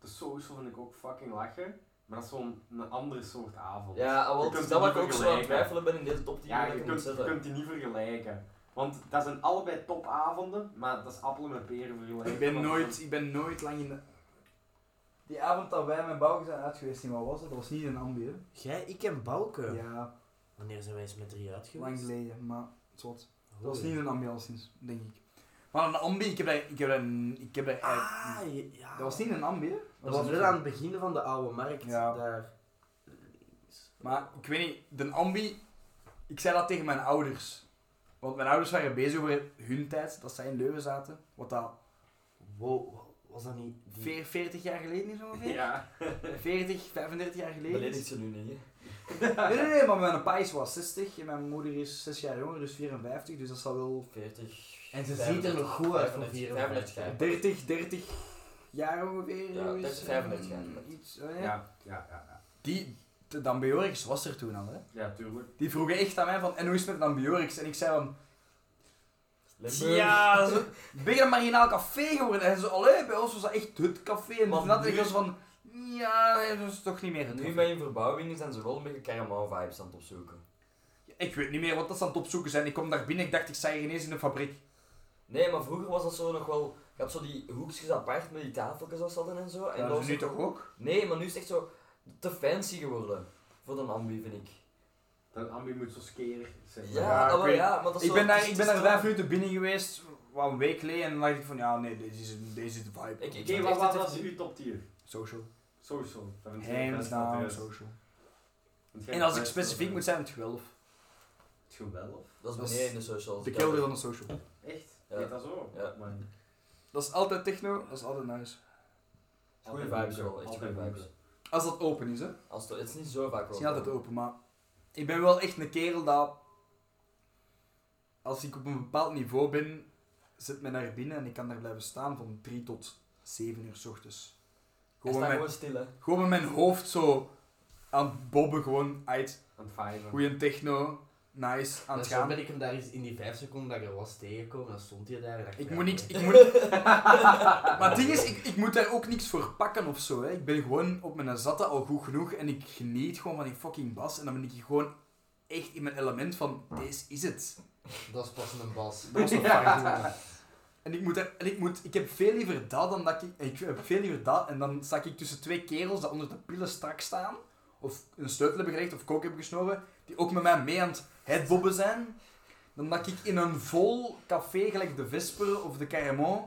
De social vind ik ook fucking lachen. Maar dat is zo'n een andere soort avond. Ja, ah, wel, Je het is dat kunt die waar ik ook niet zo aan het vergelijken. twijfelen ben in deze top 10 Ja, ja, je ik moet kunt, je zetten. kunt die niet vergelijken. Want dat zijn allebei topavonden, maar dat is appelen met peren vergelijken. Ik ben Want- nooit, ik ben nooit lang in de... Die avond dat wij met Bouwke zijn uit geweest, in wat was dat? Dat was niet in een ambi, hè? Jij, ik en Bouke. Ja, Wanneer zijn wij eens met drie uit geweest? lang geleden, maar... Zot. Holy. Dat was niet een ambiance, denk ik. Maar een ambi, ik heb daar... Ik heb daar, ik heb daar eh, Ah, je- ja. Dat was niet een ambi, hè? Dat was een- wel aan het begin van de oude markt. Ja. Daar. Maar ik weet niet, de ambi... Ik zei dat tegen mijn ouders. Want mijn ouders waren bezig over hun tijd, dat zij in Leuven zaten. Wat dat Wow, was dat niet... die- veer- 40 jaar geleden is ongeveer? Ja. 40, 35 jaar geleden. Beledigt is. ze nu niet, hè? Nee, nee, nee, maar mijn pa is wel 60 en mijn moeder is 6 jaar jonger, dus 54. Dus dat zal wel 40. En ze ziet er nog goed uit voor 35 jaar. 30, 30 jaar ongeveer. Ja, zoiets. 30, 35 jaar. Mm, Iets, eh, Ja, ja, ja. Die, de Dambiorix was er toen al, hè? Ja, tuurlijk. Die vroegen echt aan mij van, en hoe is het met Dambiorix? En ik zei van, Limburg. ja, dat is een beetje een marginaal café geworden. En zo, allee, bij ons was dat echt het café. En Maar toen had nu- ik zo van, ja, nee, dat is toch niet meer het Nu café. met in verbouwingen zijn ze wel een beetje caravan-vibes aan het opzoeken. Ik weet niet meer wat dat ze aan het opzoeken zijn. Ik kwam daar binnen, ik dacht, ik sta hier ineens in een fabriek. Nee, maar vroeger was dat zo nog wel... Je had zo die hoekjes apart met die tafeltjes als hadden en zo. En En dat dat was is nu het- toch ook? Nee, maar nu is het echt zo te fancy geworden. Voor een ambi, vind ik. Dan Ambi moet zo skerig zijn. Ja, Ja, ik maar weet- ja, maar dat is Ik zo- ben het daar, is ik te ben daar strak. vijf minuten binnen geweest, wat een week geleden. En dan dacht ik van, ja, nee, deze is, deze is de vibe. Ik- ik- Oké, wat wat was uw top tier? Social. Social. Dat vind ik het Hands beste down, thuis. social. Want jij En als ik bent specifiek wel- moet zijn, het geweldig. Het geweldig. Dat is Dat is beneden in de socials. De kelder van de social. Echt? Ja. Heet dat zo? Ja. Maar- Dat is altijd techno, dat is altijd nice. Goeie Altijd vibes wel, boeken, echt altijd goeie vibes. boeken. Als dat open is, hè. Als het, het is niet zo vaak Het wel. is niet altijd open, maar... Ik ben wel echt een kerel dat... Als ik op een bepaald niveau ben, zit mij naar binnen en ik kan daar blijven staan van 3 tot 7 uur s ochtends. Hij Gewoon staat met, gewoon stil, hè. gewoon met mijn hoofd zo aan het bobben, gewoon uit Aan het vijven. goeie techno, nice, aan Maar het zo gaan. ben ik hem daar eens in die 5 seconden dat ik er was tegengekomen, dan stond hij daar. en dacht Ik ja, moet niks... nee. Ik moet... maar het ding is, ik, ik moet daar ook niks voor pakken of zo. Hè. Ik ben gewoon op mijn zatte al goed genoeg en ik geniet gewoon van die fucking bas. En dan ben ik hier gewoon echt in mijn element van, deze is het. Dat is pas een bas. Dat was een ja. En ik, moet daar- en ik, moet, ik heb veel liever dat dan dat ik... Ik heb veel liever dat en dan sta ik tussen twee kerels dat onder de pillen strak staan. Of een sleutel hebben gelegd of kook hebben gesnoven. Die ook met mij mee aan het headbobben zijn. Dan dat ik in een vol café, gelijk de Vesper of de Caramon,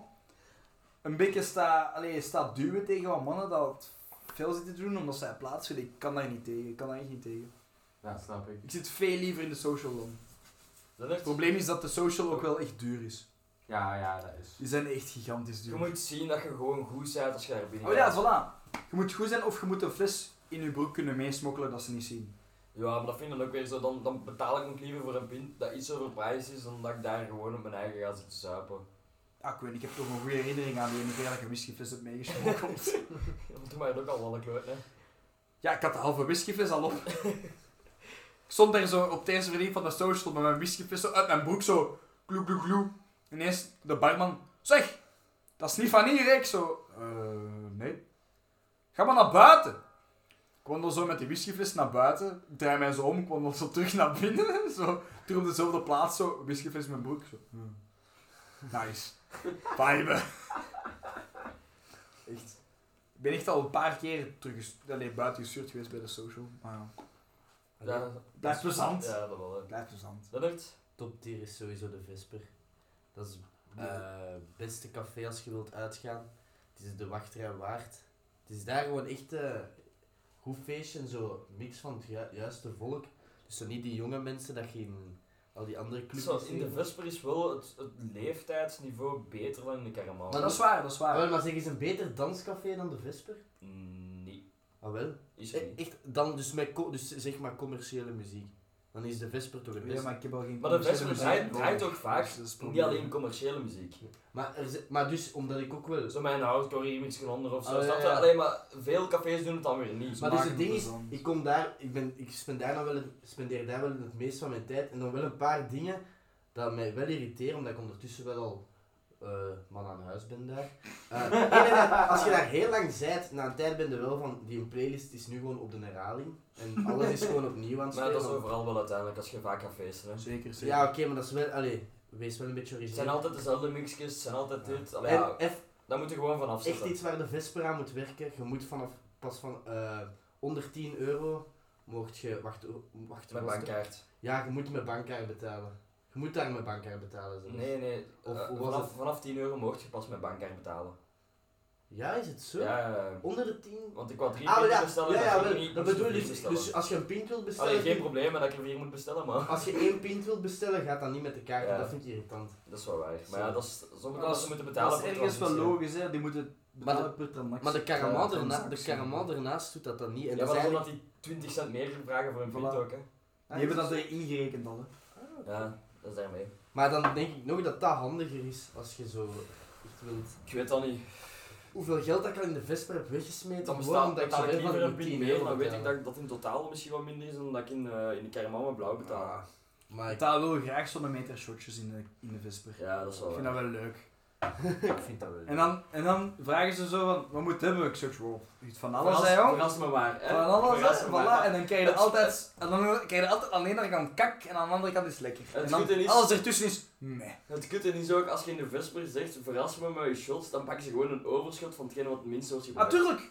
een beetje sta, allee, sta duwen tegen wat mannen dat veel zitten te doen omdat zij plaatsvinden. Ik kan daar niet tegen. Ik kan daar echt niet tegen. Ja, snap ik. Ik zit veel liever in de social dan. Het Lennart, probleem is dat de social ook wel echt duur is. Ja, ja, dat is. Die zijn echt gigantisch je duur. moet zien dat je gewoon goed bent als je daar binnen Oh ja, gaat. voilà. Je moet goed zijn of je moet een fles in je broek kunnen meesmokkelen dat ze niet zien. Ja, maar dat vind ik ook weer zo. Dan, dan betaal ik nog liever voor een pint dat iets overprijsd is dan dat ik daar gewoon op mijn eigen ga zitten zuipen. Ah, ik weet niet, ik heb toch een goede herinnering aan die ene keer dat ik een whiskyfles heb meegesmokkeld. Dat doet mij ook al wel een kloot, hè. ja, ik had de halve whiskyfles al op. ik stond daar zo op de eerste verdieping van de social met mijn whiskyfles zo uit mijn broek zo. Gloe, gloe, gloe. Ineens de barman. Zeg, dat is niet van hier, hè?" ik zo. Eh, nee. Ga maar naar buiten. Ik wandel zo met die whiskyfles naar buiten. Ik draai mij zo om, ik wandel zo terug naar binnen. Zo, terug op dezelfde plaats, zo. Whiskyfles in mijn broek. Zo. "Hmm. Nice. Vibe. Echt. Ik ben echt al een paar keer terug, allee, buiten gestuurd geweest bij de social. Maar ja. Ja, Blijft plezant. ja, dat wel, hè. Blijft plezant. Lennart, Top tier is sowieso de Vesper. Dat is eh, het beste café als je wilt uitgaan. Het is de wachtrij waard. Het is daar gewoon echt eh goed feestje en zo. Mix van het ju- juiste volk. Dus zo niet die jonge mensen dat je in al die andere clubs zo, in de Vesper is wel het, het leeftijdsniveau beter dan in de Caraman. Maar dat is waar, dat is waar. Ah, wel, maar zeg eens een beter danscafé dan de Vesper? Mm, Nee, Ah wel. is er E- niet. Echt, dan dus, met co- dus zeg maar commerciële muziek. Dan is de Vesper toch het beste. Ja, maar ik heb al geen Maar de commerciële Vesper muziek draait, nodig. draait ook vaak Dus dat is het niet probleem. alleen commerciële muziek. Maar, er zi- maar dus, omdat ik ook wel... Zo mijn hardcore remix eronder of zo. Ah, ja, snap je? ja. Alleen maar veel cafés doen het dan weer niet. Smaak Maar dus het en ding is, plezant. ik kom daar, ik, ben, ik spendeer, daar wel het, spendeer daar wel het meest van mijn tijd. En dan wel een paar dingen dat mij wel irriteren, omdat ik ondertussen wel al eh, man aan huis ben daar. Eh, nee, nee, nee, als je daar heel lang zijt, na een tijd ben je wel van, die playlist is nu gewoon op de herhaling. En alles is gewoon opnieuw aan het Maar spelen. dat is overal wel uiteindelijk als je vaak gaat feesten. Hè. Zeker, zeker. Ja, oké, maar dat is wel, allee, wees wel een beetje Het origineel. zijn altijd dezelfde mixjes, het zijn altijd Ja. dit. Allee, ja, En eff- daar moet je gewoon van echt afzetten. iets waar de Vesper aan moet werken. Je moet vanaf pas van eh, onder 10 euro mocht je wacht, wacht, Met bankkaart. Ja, je moet met bankkaart betalen. Je moet daar met bankkaart betalen. zelfs. Nee, nee. Of eh, hoe was vanaf, het? vanaf 10 euro mocht je pas met bankkaart betalen. Ja, is het zo? Ja, Oh, ja, ja. Onder de 10? want ik wou drie Ah, maar pinten ja, bestellen, ja, maar ja, ik wel, niet dat moest bedoel er ik. vier Dus, bestellen. als je een pint wilt bestellen, Allee, geen probleem maar dat ik er vier moet bestellen, maar... als je één pint wilt bestellen, gaat dat niet met de kaart, Ja. dat vind ik irritant. Dat is wel waar. Maar ja, dat is... Sommigen Dat is- mensen moeten betalen Dat is voor ergens wel transitie. logisch, hè. Die moeten Maar betalen per transactie. Maar de karamel, Ja, daarna, de transactie. karamel daarnaast doet dat dan niet. En Ja, dat maar is dan eigenlijk... dat die 20 cent meer vragen voor een pint Voilà. ook, hè. Die hebben dat erin ingerekend al, hè. Ja, dat is daarmee. Maar dan denk ik nog dat dat handiger is als je zo echt wilt. Ik weet dat niet. Hoeveel geld dat ik al in de Vesper heb weggesmeten, Dan gewoon bestaat omdat dat ik zo betaal ik heel van liever een die pint 10 meer, euro dan weet ik betalen. dat, dat in totaal misschien wat minder is dan dat ik in, eh, in de caramel met blauw betaal. Ah, Maar Ik ik, betaal wel graag zo'n meter shotjes in de, in de Vesper. Ja, dat is Ik wel vind waar. dat wel leuk. ik vind dat wel. En dan, en dan vragen ze zo van, wat moet hebben? Ik zeg, wow, iets van alles, Verras- hè, jong. Verras me maar, hè. Van alles, Verras hè, me voilà. maar. En dan krijg je Het- altijd, en dan krijg je altijd alleen aan de kant kak en aan de andere kant is lekker. Het En dan goede is- alles ertussen is, meh. Het kutte is ook, als je in de Vesper zegt, verras me met je shots, dan pakken ze gewoon een overschot van hetgeen wat het minst wordt gebruikt. Natuurlijk!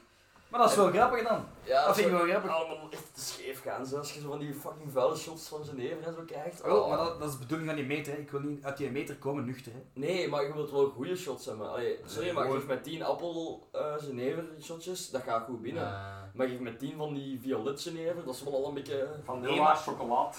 Maar dat is wel grappig dan. Ja, Dat vind ik zo- wel grappig. Allemaal echt te scheef gaan, zo. als je zo van die fucking vuile shots van Geneve en zo krijgt. Wel, Oh. maar dat, dat is de bedoeling van die meter. hè. Ik wil niet uit die meter komen nuchter. Hè. Nee, maar je wilt wel goede shots hebben. Allee, sorry, Nee, maar hoor. geef met 10 appel eh Genever shotjes, dat gaat goed binnen. Ah. Maar geef met 10 van die violet Genever, dat is wel al een beetje... Van Nee, Nela chocolade.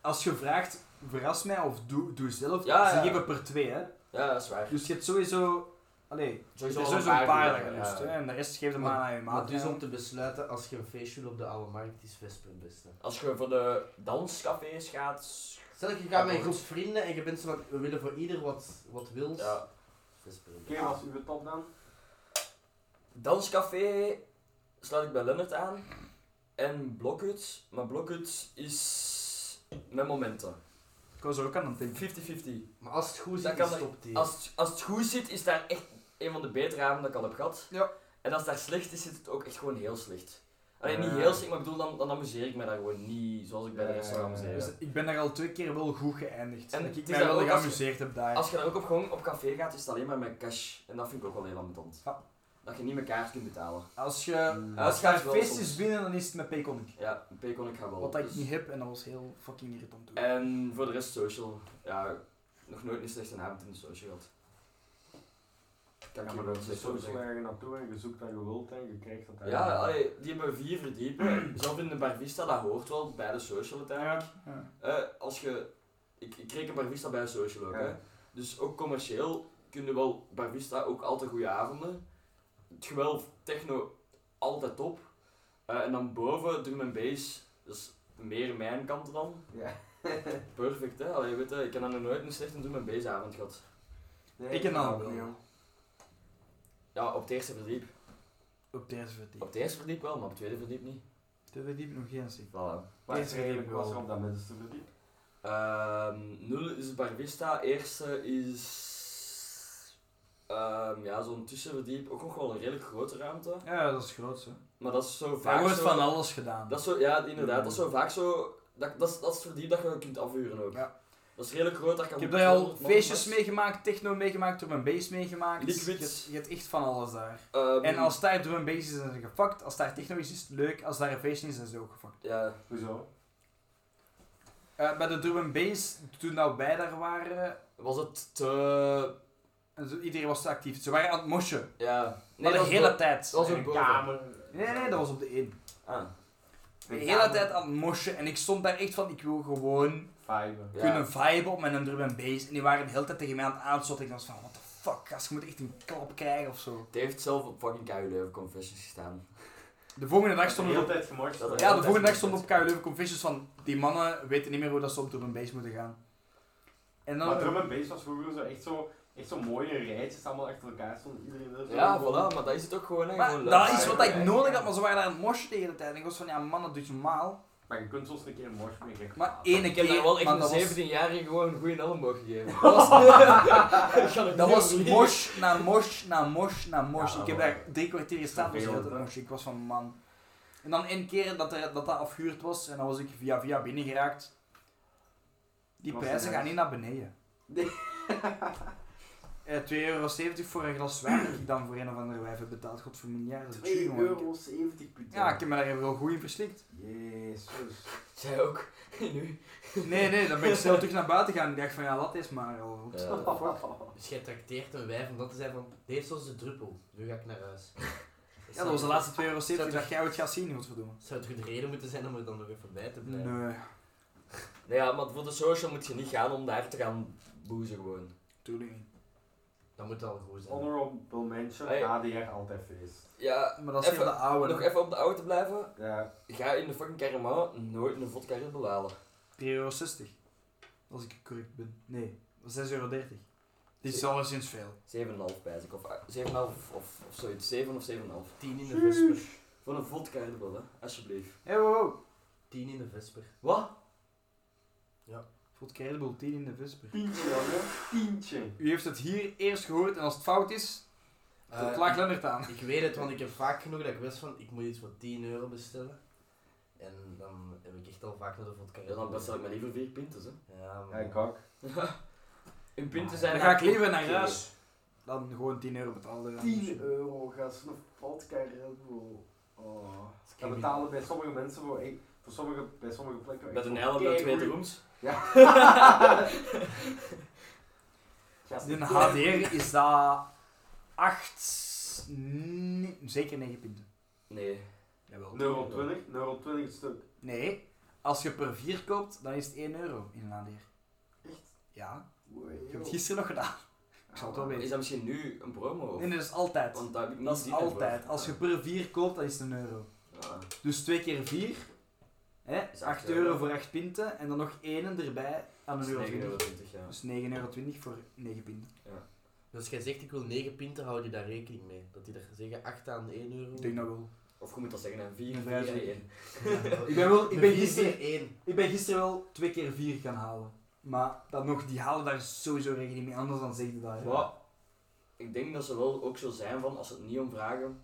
Als je vraagt, verras mij of doe, doe zelf, Ja, ze ja. geven per twee. Hè. Ja, dat is waar. Dus je hebt sowieso... Allee, er Sowieso zijn wel sowieso een paar dat goeie, je ja. lust, hè. En de rest geef je maar aan je Maar maat. dus hè. om te besluiten, als je een feestje wil op de oude markt, is Vesper het beste. Als je voor de danscafés gaat... Stel dat je gaat met een groep vrienden en je bent zo van, we willen voor ieder wat, wat wil. Ja. Vesper het Oké, beste. wat is uw top dan? Danscafé sluit ik bij Lennart aan. En Blokhut, maar Blokhut is met momenten. Ik was er ook aan het denken. 50-50. Maar als het Dat goed zit, kan is ik- top 10. Als het, als het goed zit, is daar echt een van de betere avonden dat ik al heb gehad. Ja. En als het daar slecht is, zit het ook echt gewoon heel slecht. Alleen niet Ja. heel slecht, maar ik bedoel, dan, dan amuseer ik me daar gewoon niet zoals ik bij de rest zou Ja. amuseren. Dus ik ben daar al twee keer wel goed geëindigd. En En het ik is mij dan wel ook als je- geamuseerd heb daar. Als je daar ook op, gewoon op café gaat, is het alleen maar met cash. En dat vind ik ook wel heel ambetant. Ja. Dat je niet met kaart kunt betalen. Als je, Ja, als je dat een is wel feest soms. is binnen, dan is het met Payconic. Ja, Paycon ik ga wel. Wat dat ik dus. niet heb en dat was heel fucking irritant. toen. En voor de rest social. Ja, nog nooit een slechte avond in de social gehad. Kan Ja, ik je maar dat wel is slecht zo over zo zeggen. erg naartoe en je zoekt dat je wilt en je krijgt dat Ja, eigenlijk. allee, die hebben vier verdiepen. Zelf in de Bar Vista, dat hoort wel bij de social uiteindelijk. Ja. Eh, als je... Ik, ik kreeg een barvista bij een social ook, Ja. hè. Dus ook commercieel kunnen wel barvista ook altijd goede avonden. Het gewelf, techno, altijd top. Eh, en dan boven, drum en bass, dat is meer mijn kant dan. Ja. Perfect, hè. Allee, weet je, ik heb dan nog nooit een slechte drum en bass avond gehad. Nee, Ik en snap al. wel. Ja, op het eerste verdiep. Op de eerste verdiep. Op het eerste verdiep wel, maar op het tweede verdiep niet. De verdiep nog geen zin. Voilà. Maar het Deze is redelijk wel. was er op dat mensen te verdiepen. Ehm, nul is Barvista, eerste is ehm, ja, zo'n tussenverdiep, ook nog wel een redelijk grote ruimte. Ja, dat is groot zo. Maar dat is zo Daar vaak. wordt zo, van Hmm. alles gedaan. dat is zo, ja, inderdaad, dat is zo vaak zo. Dat, dat, is, dat is het verdiep dat je kunt afhuren ook. Ja. Dat is redelijk groot. Dat kan ik heb goed daar al 200 man feestjes max. meegemaakt, techno meegemaakt, drum en bass meegemaakt. Liquids. Je hebt, je hebt echt van alles daar. Ehm, En als daar drum en bass is, dan zijn ze gefakt. Als daar techno is, is het leuk. Als daar een feestje is, dan zijn ze ook gefakt. Ja, Hoezo? Eh, bij de drum en bass, toen nou wij daar waren, was het te. en zo- iedereen was te actief. Ze waren aan het mosje. Ja. maar de dat was hele bo- tijd. Dat was In ook een boven. kamer. Nee, nee, dat was op de in. Ah, De Een hele kamer. tijd aan het moshen en ik stond daar echt van, ik wil gewoon Vijven. ja. kunnen viben op mijn drum en bass. En die waren de hele tijd tegen mij aan het aanstoten. Ik dacht van, what the fuck, gast, je moet echt een klap krijgen of zo. Het heeft zelf op fucking KU Leuven Confessions gestaan. De volgende dag De stond hele op... tijd gemorst. Dat- Ja, de volgende dag stond op KU Leuven Confessions van, die mannen weten niet meer hoe dat ze op drum en bass moeten gaan. En Maar dan... drum en bass was vroeger zo echt zo, echt zo mooie rijtjes allemaal achter elkaar stonden. Iedereen er zo Ja, gewoon- voilà, maar dat is het ook gewoon. Hè, Maar gewoon dat leuk. is wat ik nodig had, maar ze waren daar aan het moshen de hele tijd. En ik was van, ja man, dat doet je normaal. Maar je kunt soms een keer een mors mee geven. Maar Ik één heb keer... daar wel echt maar een dat was- 17-jarige gewoon een goede elleboog gegeven. Dat was, Ik ga het Dat niet was overleven. mosh na mosh na mosh na mosh. Ja, ik heb maar- daar drie kwartier gestaan, dus ik had het Vervelend, mosh. Ik was van man. En dan één keer dat er, dat, dat afgehuurd was en dan was ik via via binnengeraakt. Die Was prijzen het gaan nice? niet naar beneden. eh 2,70 euro voor een glas wijn dat ik dan voor een of andere wijf heb betaald. God voor mijn jaar. 2,70 euro per Ja, ik heb me daar wel goed in verslikt. Jezus. Zij ook. nu. Nee, nee, dan ben ik snel terug naar buiten gegaan. Ik dacht van ja, dat is maar al goed. Dus jij trakteert een wijf omdat te zijn van, deze was de druppel, nu ga ik naar huis. Ja, dat was de laatste 2,70 euro Zou dat jij ooit gaat zien, wat verdomme. Zou het goed reden moeten zijn om er dan nog even bij te blijven? Nee, Nee, ja, maar voor de social moet je niet gaan om daar te gaan boezen gewoon. tuurlijk niet. Dat moet al goed zijn. Honorable mention, Hey. ADR altijd feest. Ja, Maar dat is Even- voor de oude. nog even op de auto blijven. Ja. Ga in de fucking Caramel nooit een vodka Red Bull halen. 3,60 euro. Als ik correct ben. Nee, 6,30 euro. Dit is alleszins veel. 7,5 pijs ik. Of eh, 7,5 of, of, of zoiets. 7 of 7,5. 10 in de vesper. Voor een vodka Red Bull, hè. Alsjeblieft. Hé, hey, wow, wow. 10 in de vesper. Wat? Voor het Red Bull 10 in de Vesper. Tientje, jongen. Tientje. U heeft het hier eerst gehoord en als het fout is, dan Eh, klaagt Lennart aan. Ik weet het, want ik heb vaak genoeg dat ik wist van, ik moet iets voor 10 euro bestellen. En dan heb ik echt al vaak naar de vodka. Ja, dan bestel ik maar liever vier pintes, hè. Ja, Ja, maar... ik ook. Hun pinten zijn... Dan ga ik eigenlijk- liever naar huis. Dan gewoon 10 euro betalen. 10 euro, gast. Een vodka Red Bull. Oh. Dat betalen bij sommige mensen voor, echt- voor sommige, bij sommige plekken. Met echt een wel helm en twee keigoeie- rooms. Ja. Gast, In HDR is dat 8, zeker 9 punten. Nee. Jawel. 0,20, 0,20 het stuk. Nee, als je per 4 koopt, dan is het 1 euro in een HDR. Echt? Ja, Wee, ik heb het joh. gisteren nog gedaan. Ik zal het Ah. wel Is weten. dat misschien nu een promo? Of? Nee, dat is altijd. Want daar heb ik niet Dat is zin in voor. altijd. Als je per 4 koopt, dan is het een euro. Ja. Dus 2 keer 4, Is 8 acht euro euro. voor 8 pinten en dan nog 1 erbij aan Dat een is euro. 9,20 20. euro, ja. Dus 9,20 euro voor 9 pinten. Dus jij zegt ik wil 9 pinten, hou je daar rekening mee? Dat die er zeggen 8 aan 1 euro? Ik denk dat wel. Of je moet dat zeggen, hè. 4, Een 4 en vijf. 1. Ik ben wel- ik ben gisteren- 1. Ik ben gisteren wel 2 keer 4 gaan halen. Maar dat nog, die halen daar sowieso rekening mee, anders dan zeg je dat. hè. Maar ik denk dat ze wel ook zo zijn van, als ze het niet om vragen...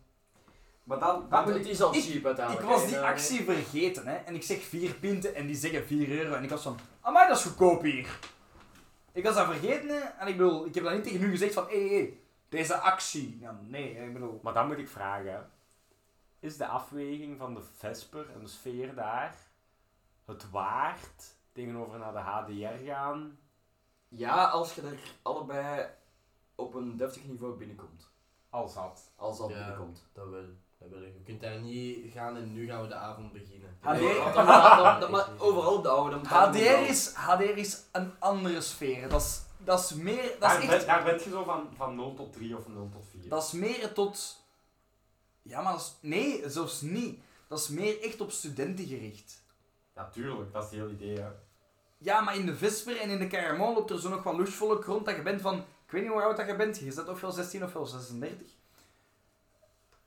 Maar dan, dan Want moet het ik... is al ik- cheap uiteindelijk. Ik was hè. die Ja, nee. actie vergeten, hè. En ik zeg 4 pinten en die zeggen 4 euro. En ik was van, amai, dat is goedkoop hier. Ik was dat vergeten, hè. En ik bedoel, ik heb dat niet tegen u gezegd van, hé, hey, hey, deze actie. Ja, nee, hè, ik bedoel... Maar dan moet ik vragen. Is de afweging van de Vesper en de sfeer daar het waard tegenover naar de HDR gaan? Ja, als je er allebei op een deftig niveau binnenkomt. Als dat. Als dat Ja. binnenkomt. Dat wil, dat wil ik. Je kunt daar niet gaan en nu gaan we de avond beginnen. Ah, nee. want dan- dan- dan- dan- Dat is maar niet- overal op de oude. dan- dan- HDR is, HDR is een andere sfeer. Dat is, dat is meer... Dat Daar, is ben, echt... daar ben je zo van, van 0 tot 3 of 0 tot 4. Dat is meer tot... Ja, maar dat is- Nee, zelfs niet. Dat is meer echt op studenten gericht. Natuurlijk, dat is het hele idee. Hè. Ja, maar in de Visper en in de Caramon loopt er zo nog wat luchtvolk rond dat je bent van... Ik weet niet hoe oud dat je bent. Je zit ofwel 16 ofwel 36.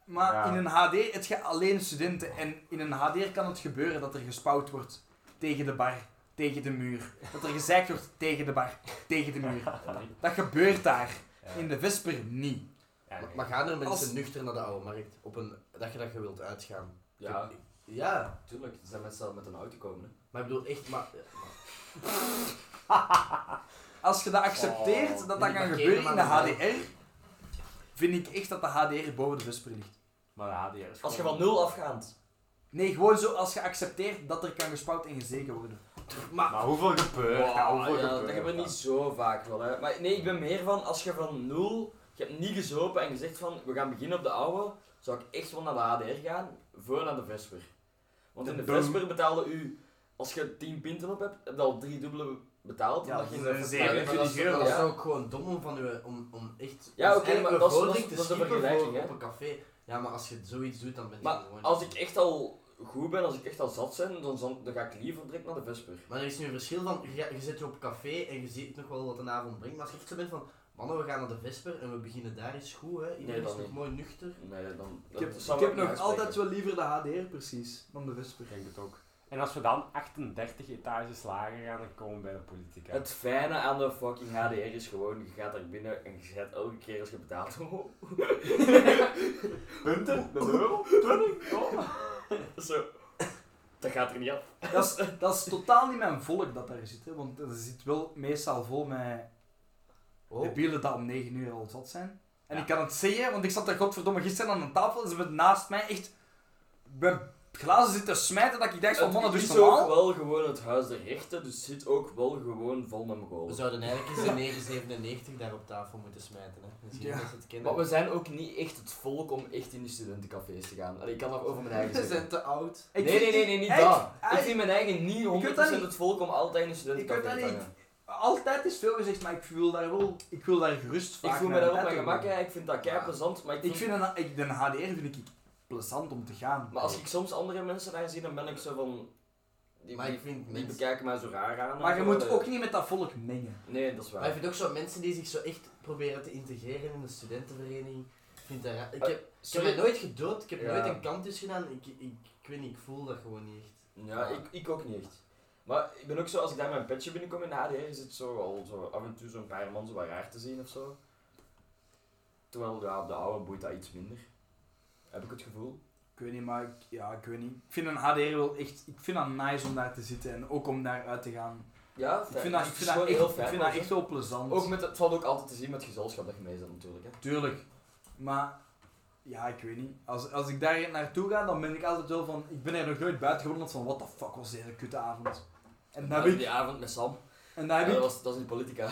Maar Ja. in een HD heb je alleen studenten. En in een HDR kan het gebeuren dat er gespouwd wordt tegen de bar, tegen de muur. Dat er gezeikt wordt tegen de bar, tegen de muur. Dat gebeurt daar. In de Visper niet. Ja, nee. Maar, maar gaan er mensen Als- nuchter naar de oude markt? Op een dat je dat je wilt uitgaan? Ja, Ik- Ja. tuurlijk. Er zijn mensen die met een auto komen. hè. Maar ik bedoel echt, maar... maar- Als je dat accepteert, dat dat kan die parkeren gebeuren in de maar niet. HDR... Vind ik echt dat de HDR boven de Visper ligt. Maar de HDR is Als je gewoon- van nul afgaat. Nee, gewoon zo als je accepteert dat er kan gespouwd en gezeken worden. Maar hoeveel gebeurt Wow, dat? ja, Hoeveel dat gebeurt hebben we dat? niet zo vaak wel. Hè. Maar nee, ik ben meer van als je van nul, je hebt niet gezopen en gezegd van we gaan beginnen op de oude, zou ik echt wel naar de HDR gaan voor naar de Vesper. Want in de Boom. Vesper betaalde u, als je 10 pinten op hebt, heb je al drie dubbele betaald. Ja, omdat je in de dat is Vesper- een Ja, maar zeer dat is- €20 euro, Dat is ja. ook gewoon dom om van je, om, om echt... Ja, dus oké, eigenlijk maar dat is- bevordering dat te is een schiepen voor vergelijking, hè. op een café. Ja, maar als je zoiets doet, dan ben je Maar gewoon... Als ik echt al goed ben, als ik echt al zat ben, dan, dan, dan ga ik liever direct naar de Vesper. Maar er is nu een verschil van, je, gaat- je zit op café en je ziet nog wel wat een avond brengt, maar als je echt zo bent van, mannen, we gaan naar de Vesper en we beginnen daar eens goed, hè. Nee, Iedereen dat is nog niet. mooi nuchter. Nee, dan... Ik heb, ik heb nog altijd wel liever de HDR precies dan de Vesper. Ik denk het ook. En als we dan 38 etages lager gaan, dan komen we bij de politica. Het fijne aan de fucking HDR is gewoon, je gaat daar binnen en je zet elke keer als je betaalt. Oh, Punten? Een euro? 20? Oh. Zo. Dat gaat er niet af. Dat is, dat is totaal niet mijn volk dat daar zit, hè, want er zit wel meestal vol met De Oh. bielen dat om 9 uur al zat zijn. En ik kan het zeggen, want ik zat daar godverdomme gisteren aan een tafel en ze hebben naast mij echt mijn glazen zitten smijten dat ik dacht van mannen, Het dus is ook normaal. wel gewoon het huis der rechten, dus zit ook wel gewoon vol met We mogolen. zouden eigenlijk eens de 997 daar op tafel moeten smijten. Hè. Misschien Ja. dat ze het kennen. Maar we zijn ook niet echt het volk om echt in die studentencafés te gaan. Allee, ik kan daar over mijn eigen We zeggen. zijn te oud. Ik nee, nee, vind- nee, nee, niet ik- dat. ik- Ik vind mijn eigen niet 100% weet dat niet. het volk om altijd in een Ik weet studentencafé te dat niet. hangen. Altijd is veel gezegd, maar ik voel daar wel, ik wil daar gerust Ik vaak voel me daar op bed mijn toe gemak, gaan. hè. ik vind dat kei plezant, maar ik Ik vind... vind een, ik, de HDR vind ik plezant om te gaan. Maar als ik soms andere mensen daar zie, dan ben ik zo van... Die, Maar ik die, vind die mensen... bekijken mij zo raar aan. en Maar je zo, moet eh. ook niet met dat volk mengen. Nee, dat is Maar ik waar. vind ook zo mensen die zich zo echt proberen te integreren in de studentenvereniging. Ik vind dat raar. Ik Eh, heb, ik heb Sorry. mij nooit gedood, ik heb Ja. nooit een kantus gedaan. Ik, ik, ik weet niet, ik voel dat gewoon niet echt. Ja, Ah. ik, ik ook niet echt. Maar ik ben ook zo, als ik daar mijn petje binnenkom in de HDR, is het zo al zo af en toe zo'n paar man zo wat raar te zien of zo. Terwijl ja, op de oude boeit dat iets minder. Heb ik het gevoel. Ik weet niet, maar ik, ja, ik weet niet. Ik vind een HDR wel echt, ik vind dat nice om daar te zitten en ook om daar uit te gaan. Ja, Ik vind fijn. dat, Het ik is vind dat, gewoon echt, heel ik fijn, vind dat hoor. echt wel plezant. Ook met, het valt ook altijd te zien met het gezelschap dat je mee zit natuurlijk. Hè. Tuurlijk. Maar, ja, ik weet niet. Als, als ik daar naartoe ga, dan ben ik altijd wel van... Ik ben er nog nooit buiten gewandeld van, what the fuck was deze kutte avond? En dan Ja, heb ik... Die avond met Sam. En dan heb Ja, dat, ik... was, dat is in politica.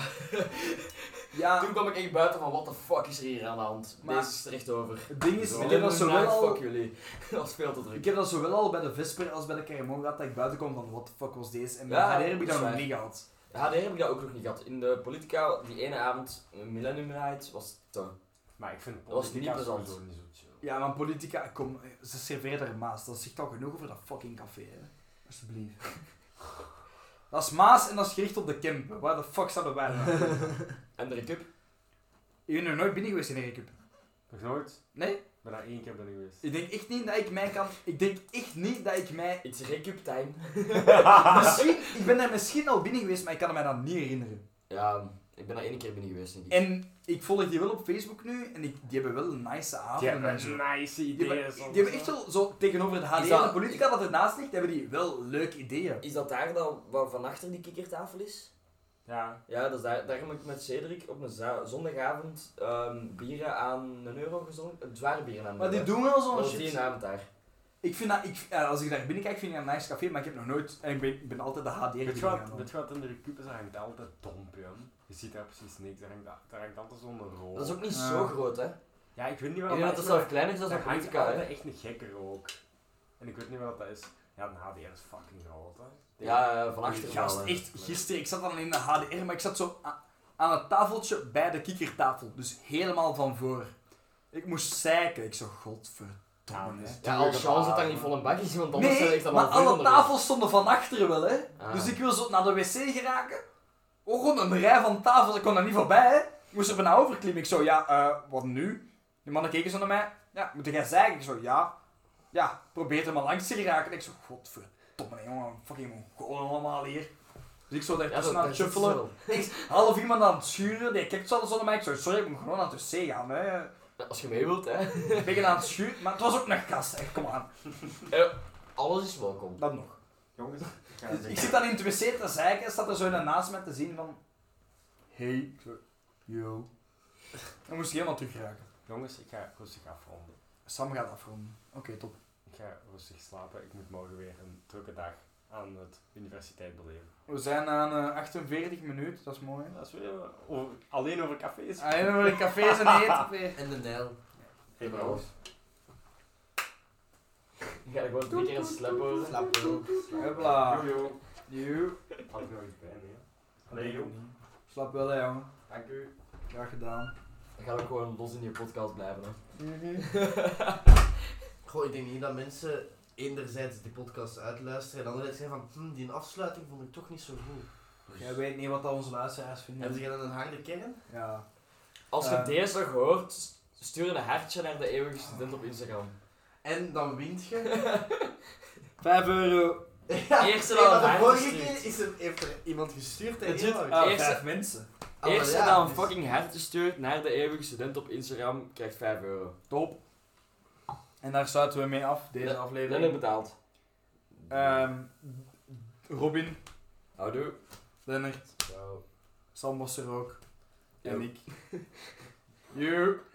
Ja, Toen kwam ik echt buiten van, what the fuck is er hier aan de hand? Maar- Deze is er echt over. het ding is, Zo. ik heb dat zowel Night, al... Fuck jullie. dat was veel te druk. Ik heb dat zowel al bij de Vesper als bij de Caramon gehad, dat ik buiten kwam van, what the fuck was deze? En bij Ja, HDR heb dat ik dat is nog waar. niet gehad. Ja, daar heb ik dat ook nog niet gehad. In de Politica, die ene avond, Millennium Night, was te... Maar ik vind Dat was niet politica plezant. sowieso niet zo chill. Ja, maar Politica, kom, ze serveert er Maas. Dat zegt al genoeg over dat fucking café, hè. Alsjeblieft. Dat is Maas en dat is gericht op de Kempen. Waar de fuck zouden wij nou? En de Recup. Je bent nog nooit binnen geweest in een cup. Nog nooit? Nee? Ik ben daar één keer binnen geweest. Ik denk echt niet dat ik mij kan... Ik denk echt niet dat ik mij... It's Recup time. Misschien, ik ben daar misschien al binnen geweest, maar ik kan me dat niet herinneren. Ja, ik ben daar één keer binnen geweest, denk ik. En ik volg die wel op Facebook nu, en ik, die hebben wel een nice Die avond. hebben en zo. nice ideeën Die hebben, soms, die hebben echt hè. wel zo tegenover de Is HD dat- en de politica dat ernaast ligt, hebben die wel leuke ideeën. Is dat daar dan waar van achter die kikkertafel is? Ja. Ja, dat is daar, daar heb ik met Cedric op een za- zondagavond ehm, bieren aan een euro gezongen. eh, Zware bieren aan een Maar die euro. doen wel zo'n Dat was shit. die avond daar. Ik vind dat, ik, eh, als ik daar binnen kijk, vind ik dat een nice café, maar ik heb nog nooit, en ik ben, ik ben altijd de HD Weet je gegaan. wat, weet je wat in de recup is? Daar hangt altijd dompium. Je ziet daar precies niks. Daar hangt, daar hangt altijd zo'n rook. Dat is ook niet Ja. zo groot, hè? Ik Ja, ik weet niet waarom. denk dat dat zelf kleiner is dan dat zo'n hangt politica, hè? altijd echt een gekke rook. En ik weet niet wat dat is. Ja, een HDR is fucking groot, hè. Die- Ja, eh, van Die achter. Gast, wel, hè. echt, gisteren, ik zat dan in de HDR, maar ik zat zo a- aan het tafeltje bij de kikkertafel, dus helemaal van voor. Ik moest zeiken, ik zo, Ja, godverdomme. dus- hè." Ja, als Charles het daar niet vol een bak is, want anders zou Nee, ik dan maar al veel alle onderweg. tafels stonden van achteren wel, hè. Ah. Dus ik wil zo naar de wc geraken. Oh, gewoon een rij van tafels, ik kon daar niet voorbij, hè. Ik moest er bijna overklimmen. Ik zo, ja, eh, wat nu? Die mannen keken zo naar mij. Ja, moet jij zeggen? Ik zo, ja. Ja, probeer er maar langs te geraken. Ik zo, godverdomme, jongen, fucking gewoon allemaal hier. Dus ik zo daar Ja, dat, tussen aan daar zitten het ze shuffelen. wel. Ik, half iemand aan het schuren, die kijkt zo alles onder mij. Ik zo, sorry, ik moet gewoon aan het wc gaan, hè. Ja, Als je mee wilt, hè. Ik ben aan het schuren, maar het was ook een gast, hè. Kom aan, Alles is welkom. dan nog. Jongens, ik ga Dus ik zit dan in het wc te zeiken en staat er zo een naast me te zien van... Hey. Ik zo, Yo. Dan moest ik helemaal terugraken. Jongens, ik ga rustig afronden. Sam gaat afronden. Oké, top. Ik ga rustig slapen. Ik moet morgen weer een drukke dag aan het universiteit beleven. We zijn aan eh, 48 minuten, dat is mooi. Ah, Dat is weer eh, over- alleen over cafés. Alleen maar in cafés en eten weer. En de Nijl. Hey bro. Ik ga er gewoon drie keer een slap over. Slap wel. Hopla. Jojo. Yo. Had ik nog iets bij, nee. Allee, joh. Slap wel hè jongen. Dank u. Graag gedaan. Ik ga ook gewoon los in je podcast blijven. Hè. Goh, ik denk niet dat mensen enerzijds die podcast uitluisteren en anderzijds zeggen van hm, die afsluiting vond ik toch niet zo goed. Jij weet niet wat dat onze luisteraars Hebben vinden. ze dan een harde kern? Ja. Als je Eh. deze nog hoort, s- stuur een hartje naar de eeuwige student op Instagram. En dan wint je. 5 euro. Ja, Eerste nee, dan maar een de harde vorige gestuurd. keer is er, heeft er iemand gestuurd en Het zit- iemand- ah, vijf Eerste- mensen. Ah, maar Eerst ja, dan een dus- fucking hartje stuurt naar de eeuwige student op Instagram, krijgt 5 euro. Top. En daar sluiten we mee af, deze Ja, aflevering. Lennon betaalt. Ehm, Robin, Houdoe. Lennart, Zo. Sam was er ook. En ik. You.